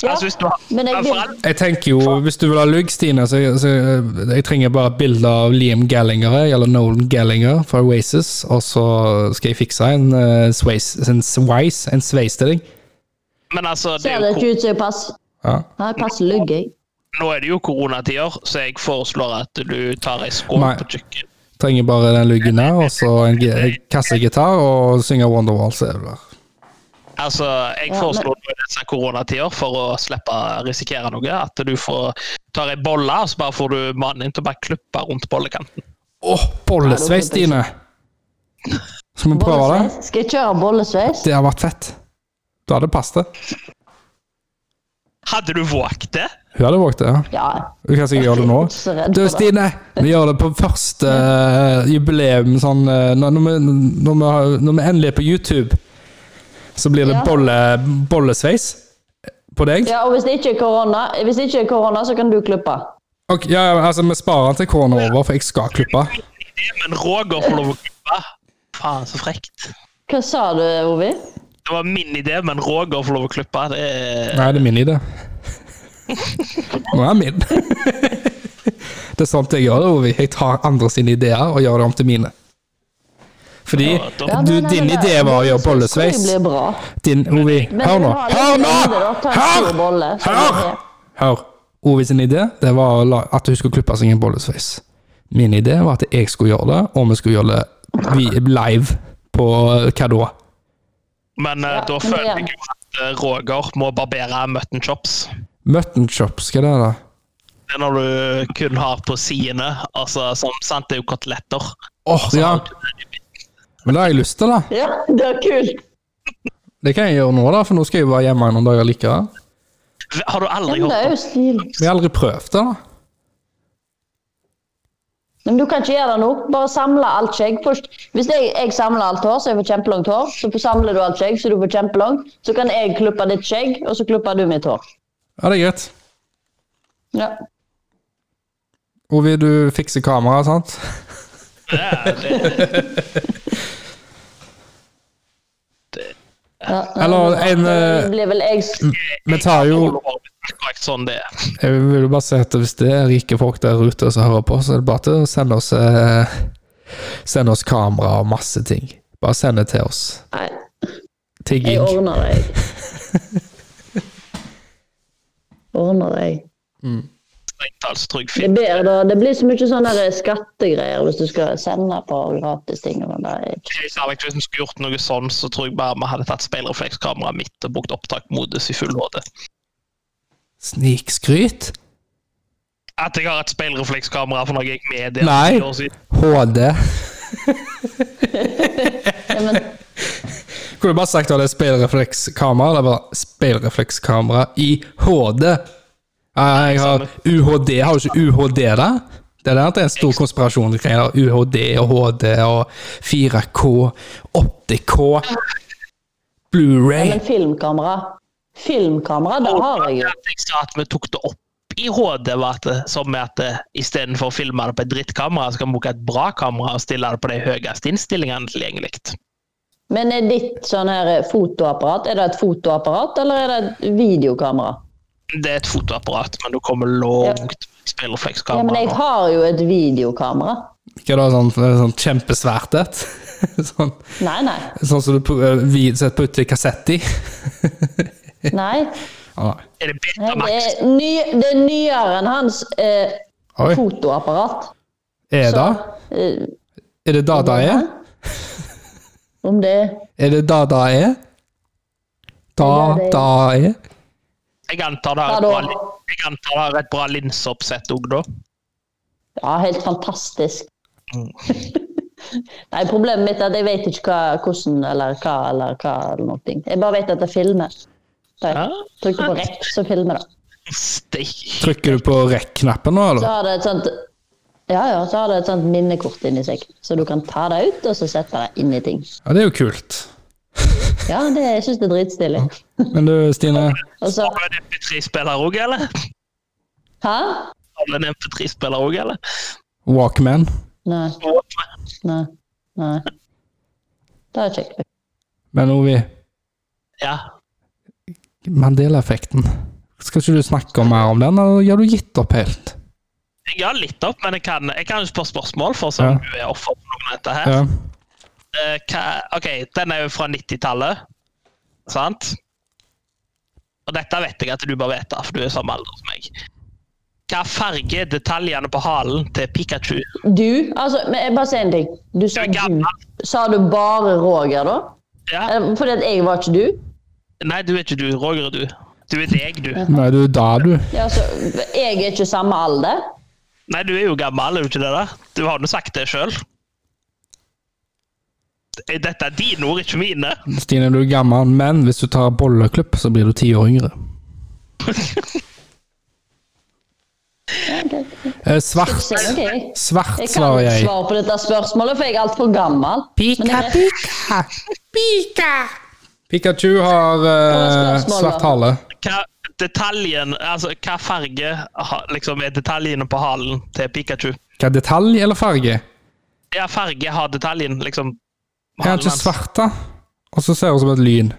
S1: Ja,
S3: Altså, hvis du har,
S1: men jeg
S3: for
S1: vil
S3: all-
S2: jeg tenker jo, Hvis du vil ha lugg, Stine, så, så eh, jeg trenger bare et bilde av Liam Gallagher jeg, eller Nolan Gallagher fra Oasis, og så skal jeg fikse en eh, sveis, en sveis, en sveis til deg.
S3: men altså, det
S1: Ser
S3: er
S1: det
S3: jo,
S1: ikke ut som jeg passer?
S2: Ja.
S1: Nei, jeg passer lygg, jeg.
S3: kor- nå er det jo koronatider, så jeg foreslår at du tar ei skål
S2: Nei.
S3: på kjøkkenet.
S2: Trenger bare den luggen der, og så en gi- kassegitar, og synge Wonderwall, så er du der.
S3: Altså, jeg
S1: Ja, men-
S3: foreslår nå i disse koronatider, for å slippe å risikere noe, at du får, tar ei bolle, og så bare får du mannen din til å bare klippe rundt bollekanten.
S2: Åh, bollesveis, Stine! Skal vi prøve det?
S1: Bollesveis. Skal jeg kjøre bollesveis?
S2: Det har vært fett. Da hadde det passet.
S3: Hadde du våget det?
S2: Hun hadde våget det, ja.
S1: Ja.
S2: Hun kan sikkert gjøre det nå.
S1: Jeg er så redd
S2: Du,
S1: for det.
S2: Stine, vi gjør det på første eh, jubileum sånn eh, når, når, vi, når, vi, har- når vi endelig er på YouTube, så blir det
S1: Ja.
S2: bolle, bollesveis på deg.
S1: ja. Og hvis det ikke er korona, hvis det ikke er korona så kan du klippe.
S2: Ok, ja, ja, altså, vi sparer den til korona er over, for jeg skal klippe.
S3: Men Roger får lov å klippe. Faen, så frekt.
S1: Hva sa du, Ovi?
S3: Det var min idé, men Roger får lov å klippe. Det er
S2: Nei, det er min idé. Nå er den min. Det er sånt jeg gjør, Ovi. Jeg tar andre sine ideer og gjør det om til mine. Fordi
S3: Ja, da- Ja,
S2: du, din idé var å gjøre bollesveis.
S1: Det blir bra.
S2: Din, Ovi,
S1: Men
S2: hør
S1: vil
S2: nå.
S1: du ha litt
S2: Hør nå!
S1: mindre, da? Ta en stor
S2: Hør!
S1: bolle, så
S2: Hør!
S1: blir det-
S2: Hør. Ovi sin idé det var å la- at hun skulle klippe seg en bollesveis. Min idé var at jeg skulle gjøre det, og vi skulle gjøre det vi- live på hva da?
S3: Men eh,
S1: Ja, men
S3: da
S1: det
S3: føler
S1: er-
S3: jeg jo at eh, Roger må barbere mutton chops.
S2: Mutton chops, hva er det da?
S3: Det er når du kun har på sidene. Altså, som sant, det er jo koteletter.
S2: Åh, ja. Men det har jeg lyst til, da.
S1: Ja, det er kult.
S2: Det kan jeg gjøre nå, da, for nå skal jeg være hjemme i noen dager likevel.
S3: Har du
S1: Ja,
S3: aldri
S1: men det er
S3: hørt
S1: jo
S3: om
S1: stil.
S2: Vi har aldri prøvd det, da.
S1: Men du kan ikke gjøre det nå. Bare samle alt skjegg først. Hvis jeg, jeg samler alt hår, så jeg får kjempelangt hår, så får- samler du alt skjegg, så du får kjempelangt, så kan jeg klippe ditt skjegg, og så klipper du mitt hår.
S2: Ja, det er greit.
S1: Ja.
S2: Ovi, du fikser kameraet, sant?
S3: det? det?
S1: ja.
S2: Eller en eh,
S1: Det blir vel jeg s-
S2: Vi tar jo
S3: Det er korrekt sånn det er.
S2: Jeg vil jo bare si at hvis det er rike folk der ute som hører på, så er det bare til å sende oss eh, Sende oss kamera og masse ting. Bare send det til oss.
S1: Nei, jeg
S2: Tigging.
S1: ordner det, jeg. ordner deg.
S3: Strengtalstrygg
S1: Det,
S3: film.
S1: er bedre, da. det blir så mye sånne der skattegreier hvis du skal sende på gratis ting. Og sånn. det er ikke-
S3: Hvis Alex, hvis vi skulle gjort noe sånn, så tror jeg bare vi hadde tatt speilreflekskameraet mitt og brukt opptakmodus i full HD.
S2: Snikskryt?
S3: At jeg har et speilreflekskamera for noe jeg gikk med i
S2: Nei.
S3: år siden.
S2: HD?
S1: Ja, men,
S2: Kunne du bare sagt at det er speilreflekskamera? Det var speilreflekskamera i HD. Nei, Jeg har UHD. Har du ikke UHD, da? Det er der at det er en stor konspirasjon. greier der. UHD og HD og 4K, 8K,
S1: ja,
S2: Blu-ray
S1: men filmkamera. Filmkamera, det har jeg jo.
S3: At jeg sa at vi tok det opp i HD, var at det, som med at eh, det, istedenfor å filme det på et drittkamera, så kan vi bruke et bra kamera og stille det på de høyeste innstillingene tilgjengelig.
S1: Men er ditt sånn her fotoapparat, er det et fotoapparat eller er det et videokamera?
S3: Det er et fotoapparat, men du kommer langt med
S1: Ja, men
S3: speilreflekskamera.
S1: jeg har jo et videokamera.
S2: Ikke da sånn, sånn kjempesvært et? Sånn,
S1: Nei, nei.
S2: sånn som du pu- eh, vi- setter- putter kassett i?
S1: nei.
S2: Å, nei.
S3: Er det
S1: Nei, Det
S3: Betamax?
S1: er, ny, det er nyere enn hans eh,
S2: Oi,
S1: fotoapparat.
S2: er det?
S1: eh,
S2: Er det da det er?
S1: Om det
S2: Er det da da er? Da
S1: Ja, det er-
S2: da er?
S3: Jeg antar det
S1: Ja,
S3: har et
S1: da.
S3: bra, lin- jeg antar det har et bra linseoppsett òg, da.
S1: Ja, helt fantastisk.
S3: Mm.
S1: Nei, problemet mitt er at jeg vet ikke hva, hvordan eller hva eller hva eller noe. Jeg bare vet at det filmer. Så
S3: Ja.
S1: jeg trykker på rekk, så filmer det.
S3: Steik.
S2: Trykker du på rekk-knappen nå,
S1: Så
S2: eller?
S1: har det et sånt ja, ja, så har det et sånt minnekort inni seg, så du kan ta det ut og så sette det inn i ting.
S2: Ja, det er jo kult.
S1: Ja, det, jeg syns det er dritstilig.
S2: Men du, Stine,
S1: Og så,
S3: Har du en MP3-spiller òg, eller?
S1: hæ?
S3: Har du en MP3-spiller òg, eller?
S2: Walkman.
S1: Nei, nei, nei. Det er kjekt.
S2: Men Ovi,
S3: Ja.
S2: Mandela-effekten. Skal ikke du snakke om mer om den, eller har du gitt opp helt?
S3: Jeg har litt opp, men jeg kan, jeg kan jo spørre spørsmål, for som du er offer for noen av dette her.
S2: Ja.
S3: Eh, hva, OK, den er jo fra 90-tallet, sant? Og dette vet jeg at du bare vet, da, for du er samme alder som meg. Hva farge er detaljene på halen til Pikachu?
S1: Du, altså, men jeg bare sier en ting. Du sa
S3: Du er
S1: du.
S3: gammel.
S1: Sa du bare Roger, da?
S3: Ja.
S1: Eller, Fordi at jeg var ikke du?
S3: Nei, du er ikke du. Roger er du. Du er deg, du.
S2: Nei, du er da, du.
S1: Ja, altså, jeg er ikke samme alder.
S3: Nei, du er jo gammel, er du ikke det? da? Du har jo sagt det sjøl. Dette er dine ord, ikke mine.
S2: Stine, du er gammel, men hvis du tar bolleklubb, så blir du ti år yngre. Eh, svart.
S1: Så, ok.
S2: Svart,
S1: Jeg kan
S2: svarer
S1: ikke
S2: jeg.
S1: svare på dette spørsmålet, for jeg er altfor gammel.
S2: Pika, pika, pika. Pikachu har eh,
S1: spørsmål, da?
S2: svart hale.
S3: Hva, detaljen, altså, hva farge ha- liksom, er detaljene på halen til Pikachu?
S2: Hva detalj eller farge?
S3: Ja, farge har detaljen, liksom.
S2: Jeg har
S3: halen
S2: ikke
S3: hans.
S2: svart, da. Og så ser hun som et lyn.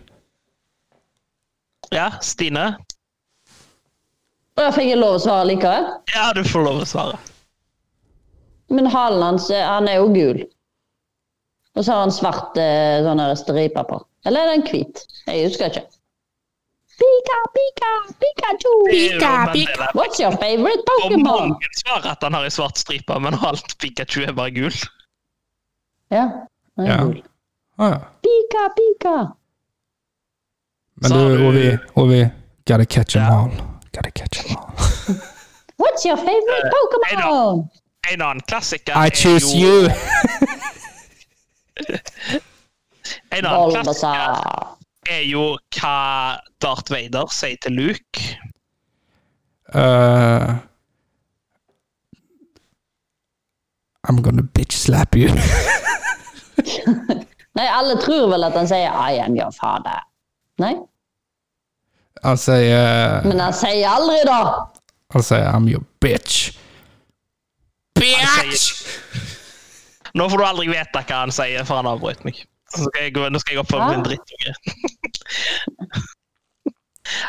S3: Ja, Stine?
S1: Og jeg fikk jeg lov å svare likevel.
S3: Ja, du får lov å svare.
S1: Men halen hans eh, han er jo gul. Og så har han svart eh, sånn her stripe på. Eller er den hvit? Jeg husker ikke. Pika, pika, Pikachu!
S3: Pika, pika.
S1: What's your favorite
S3: Og
S1: Pokémon?
S3: mange svarer at han har ei svart stripe, men alt Pikachu er bare gul.
S1: Ja, den er
S2: Ja.
S1: gul.
S2: Å Ah, ja.
S1: Pika, pika!
S2: Men
S3: Sa
S2: du,
S3: du-
S2: Ovi, Ovi Gotta catch 'em
S3: Ja.
S2: all. Gotta catch 'em all.
S1: What's your favorite
S3: nei da.
S1: Pokémon?
S3: En annen klassiker
S2: I choose you!
S3: En annen klassiker
S1: Bulbasaur.
S3: er jo hva Darth Vader sier til Luke.
S2: Eh, I'm gonna bitch slap you.
S1: Nei, alle tror vel at han sier 'I am your father'. Nei,
S2: Han sier
S1: men han sier aldri det!
S2: Han sier I'm your bitch.
S3: Han sier- Nå får du aldri vite hva han sier, for han avbrøt meg. Så skal jeg, gå- nå skal jeg oppføre meg
S1: Hæ?
S3: en drittunge.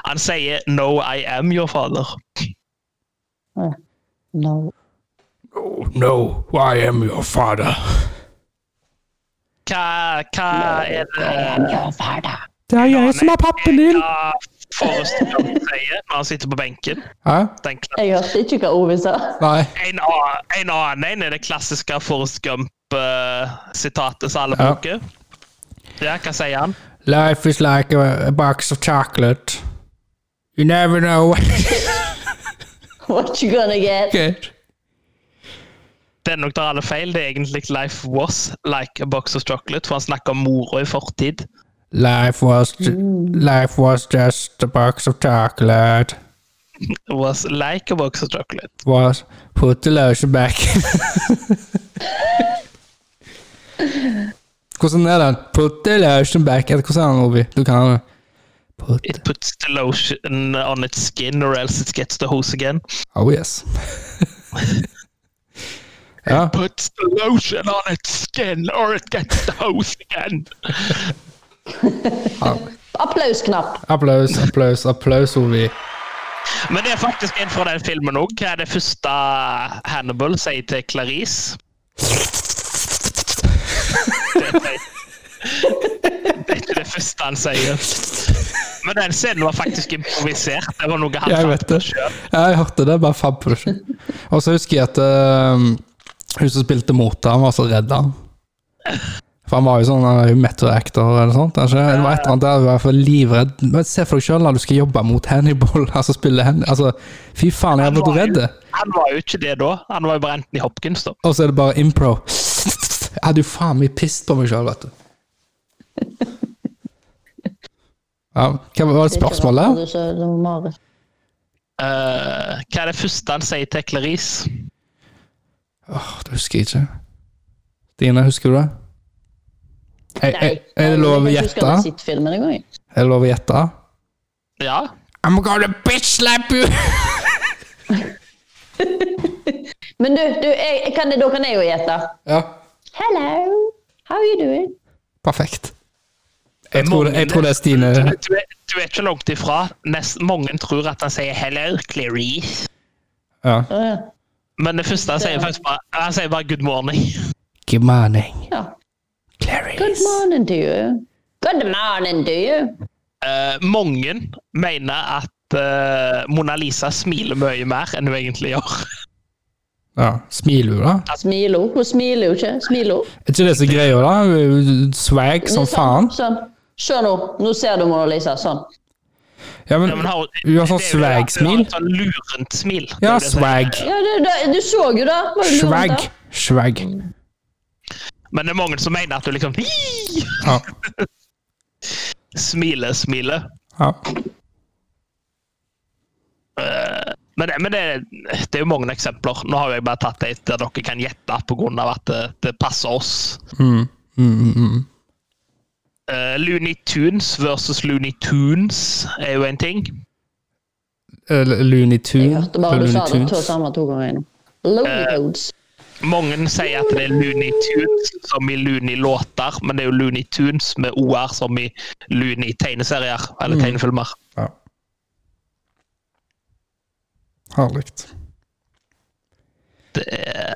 S3: Han sier 'No, I am your father'.
S1: No.
S2: Oh, no, I am your father.
S3: Hva, hva er
S1: I
S3: det
S1: am your father.
S2: Det er jeg som er pappen din!
S3: Ja, Forrest Gump sier når han sitter på benken.
S2: Hæ?
S3: Den kla-
S1: Jeg hørte ikke hva Ove sa.
S2: Nei.
S3: En, a- en annen en er det klassiske Forrest Gump-sitatet som alle
S2: Ja.
S3: bruker. Ja, hva sier han?
S2: Life is like a, a box of chocolate. You never know what you
S1: What you gonna get?
S2: get.
S3: Det er nok der alle feil. Det er egentlig life was like a box of chocolate, for han snakker om mora i fortid.
S2: Life was, ju- life was just a box of chocolate.
S3: Was like a box of chocolate.
S2: Was put the lotion back. hvordan er den? Put the lotion back. Eller hvordan er den, Obi? Du kan den. Put
S3: It puts the lotion on its skin, or else it gets the hose again.
S2: Oh yes. ja.
S3: Puts the lotion on its skin, or it gets the hose again.
S1: Applausknapp.
S2: Applaus, applaus, applaus, Ovi.
S3: Men det er faktisk en fra den filmen òg. Hva er det første Hannibal sier til Clarice? Det er- det er ikke det første han sier. Men den scenen var faktisk improvisert. Det var noe han
S2: Jeg
S3: fant
S2: vet
S3: på
S2: det.
S3: selv.
S2: Ja, jeg hørte det. Bare fab push. Og så husker jeg at eh, hun som spilte mot ham, var så redd ham. For han var jo sånn, han er jo method-actor eller sånt. er ikke det? Det var et eller annet der, hun var i hvert fall livredd. Men se for deg sjøl når du skal jobbe mot Hannibal, altså spille Hannibal. Altså, fy faen,
S3: Han
S2: jeg har blitt
S3: var jo-
S2: redd.
S3: Han var jo ikke det da. Han var jo bare Anthony Hopkins, da.
S2: Og så er det bare impro. Jeg hadde jo faen meg pissed på meg sjøl, vet du. Ja, hva var det spørsmålet?
S1: Det er ikke rart at du så Marit.
S3: Eh, hva er det første han sier til Clarice?
S2: Åh, det husker jeg ikke. Stine, husker du det? Er, er, er det lov å
S1: Jeg husker
S2: gjette?
S1: ikke sitt-filmen engang. jeg.
S2: Er det lov å gjette?
S3: Ja.
S2: I'm gonna bitch slap you!
S1: Men du, du jeg, jeg kan, da kan jeg jo gjette.
S2: ja,
S1: Hello, how are you doing?
S2: perfekt. Jeg tror, det, jeg tror det er Stine.
S3: Du, du, er, du er ikke langt ifra. Nest, mange tror at han sier 'hello, Clarice'.
S2: Ja.
S1: Å, ja.
S3: Men det første han sier faktisk bare Han sier bare 'good morning'.
S2: Good morning,
S1: ja. Good
S2: Clarice.
S1: morning to you. Good morning to you.
S3: Eh, mange mener at eh, Mona Lisa smiler mye mer enn hun egentlig gjør.
S2: Ja, Smiler hun, da?
S1: Smiler hun? Hun smiler jo ikke. Smiler hun?
S2: Er ikke det som er greia, da? Hun er jo Swag som faen.
S1: Sånn. Se nå. Nå ser du Mona Lisa. Sånn.
S2: Ja, men
S3: Ja, men har-
S2: hun har sånn
S3: det er jo det at hun har
S2: swag-smil.
S3: et Sånn lurent smil. Det
S2: Ja,
S3: er det som-
S2: swag.
S1: Ja, du, du, du så jo det. Var det lurt,
S2: Swag.
S1: da?
S2: Swag.
S3: Men det er mange som mener at hun liksom "Hi!"
S2: Ja.
S3: smiler, smiler.
S2: ja.
S3: Men, det, men det, det er jo mange eksempler. Nå har jo jeg bare tatt et der dere kan gjette pga. at det, det passer oss.
S2: Mm. Mm, mm, mm.
S3: Eh, Looney Tunes versus Looney Tunes er jo en ting.
S2: Eller Eh, Looney
S1: Jeg
S2: Tunes.
S1: hørte bare du sa det
S2: Looney
S1: to
S2: Tunes.
S1: samme to ganger nå. Lonely
S3: Eh,
S1: Roads.
S3: Mange sier at det er Looney Tunes som i Looney låter, men det er jo Looney Tunes med OR som i Looney tegneserier eller tegnefilmer.
S2: Ja. Herlig.
S3: Det er,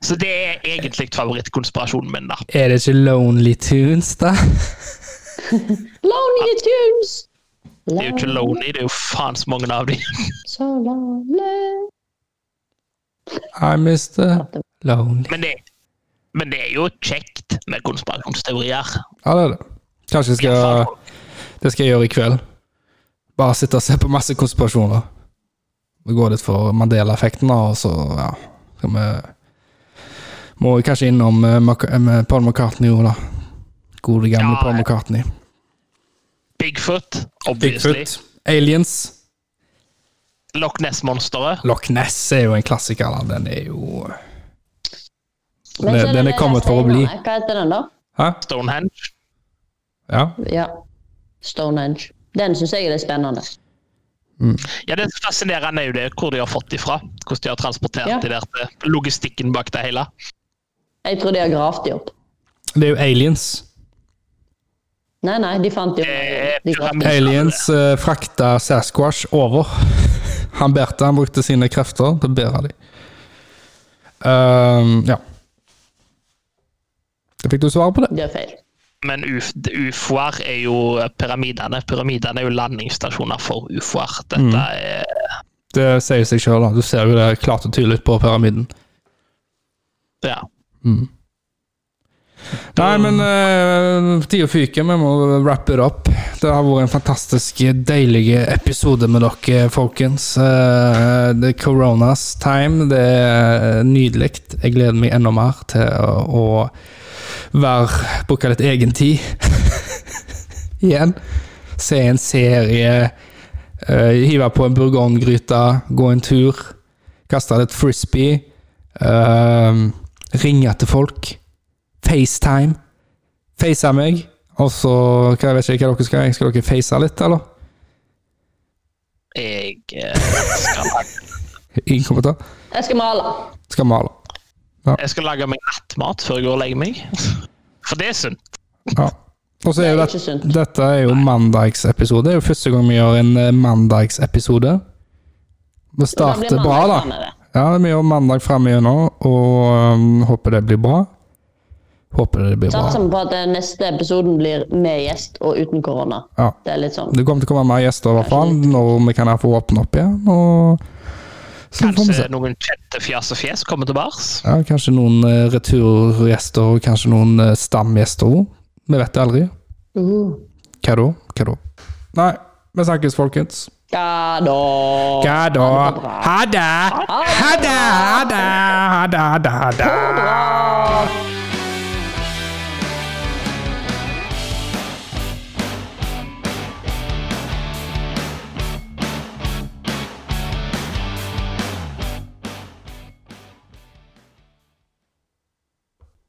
S3: så det er egentlig favorittkonspirasjonen min, da.
S2: Er det ikke Lonely Tunes, da?
S1: Lonely Tunes.
S3: Det er jo ikke Loney, det er jo faen så mange av de.
S1: So lonely.
S2: I mister Lonely.
S3: Men det, men det er jo kjekt med konspirasjonsteorier.
S2: Ja, det er det. Kanskje jeg skal, det skal jeg gjøre i kveld. Bare sitte og se på masse konspirasjoner. Det går litt for Mandela-effekten, da, og så, ja skal vi, Må vi kanskje innom eh, Mac- eh, med Paul McCartney òg, da. Gode, gamle
S3: Ja,
S2: Paul McCartney.
S3: Bigfoot, obviously.
S2: Bigfoot. Aliens.
S3: Loch Ness-monsteret.
S2: Loch Ness er jo en klassiker. Da. Den er jo
S1: Men
S2: Den-
S1: så
S2: den er
S1: der
S2: kommet for å bli.
S1: steinene. Hva heter den, da?
S2: Hæ?
S3: Stonehenge.
S2: Ja.
S1: Ja. Stonehenge. Den syns jeg er litt spennende.
S3: Ja, Det som fascinerer meg, er jo det, hvor de har fått de fra. Hvordan de har transportert
S1: Ja.
S3: de der til logistikken bak det hele.
S1: Jeg tror de har gravd de opp.
S2: Det er jo aliens.
S1: Nei, nei, de fant de
S3: Eh,
S1: opp. De gravde.
S2: Aliens eh, frakta Sasquatch over. Han bærte, han brukte sine krefter til å bære dem. ja. Da fikk du svar på det.
S1: De har feil.
S3: Men uf- ufoer er jo pyramidene. Pyramidene er jo landingsstasjoner for ufoer.
S2: Mm.
S3: Dette er
S2: Det sier seg sjøl, da. Du ser jo det klart og tydelig på pyramiden.
S3: Ja.
S2: Nei, men uh, tida fyker. Vi må wrap it up. Det har vært en fantastisk deilig episode med dere, folkens. Eh, det er coronas time. Det er nydelig. Jeg gleder meg enda mer til å, å være bruke litt egen tid igjen. Se en serie, eh, hive på en burgongryte, gå en tur, kaste litt frisbee, eh, ringe til folk. FaceTime. Face meg, og så hva, Jeg vet ikke hva dere skal. Skal dere face litt, eller?
S3: Jeg eh, skal,
S2: Ingen kommentar.
S1: Jeg skal male.
S2: Skal male.
S3: jeg skal lage meg nattmat før jeg går og legger meg. For det er sunt.
S2: Ja. Og så er jo
S1: Det er
S2: dette,
S1: ikke sunt.
S2: dette er jo mandagsepisode. Det er jo første gang vi gjør en eh, mandagsepisode. Det
S1: Da blir
S2: starter
S1: mandag
S2: bra, da.
S1: fremme, det.
S2: Ja, vi gjør mandag fremme gjennom, og um, håper det blir bra. Håper det blir bra.
S1: Satser vi på at den neste episoden blir med gjest og uten korona.
S2: Ja.
S1: Det er litt sånn.
S2: Det kommer til å komme mer gjester, i hvert fall, når vi kan få åpne opp igjen. Og så får vi se.
S3: Kanskje noen kjente fjas og fjes kommer tilbake.
S2: Ja, kanskje noen eh, returgjester og kanskje noen eh, stamgjester òg. Vi vet det aldri.
S1: Uh.
S2: Hva da? Hva da? Nei, vi snakkes, folkens.
S1: Ja da.
S2: Hva da?
S1: Ha det bra.
S2: Ha det! Ha det! Ha det! Ha det! Ha
S1: Ha
S2: det!
S1: det bra.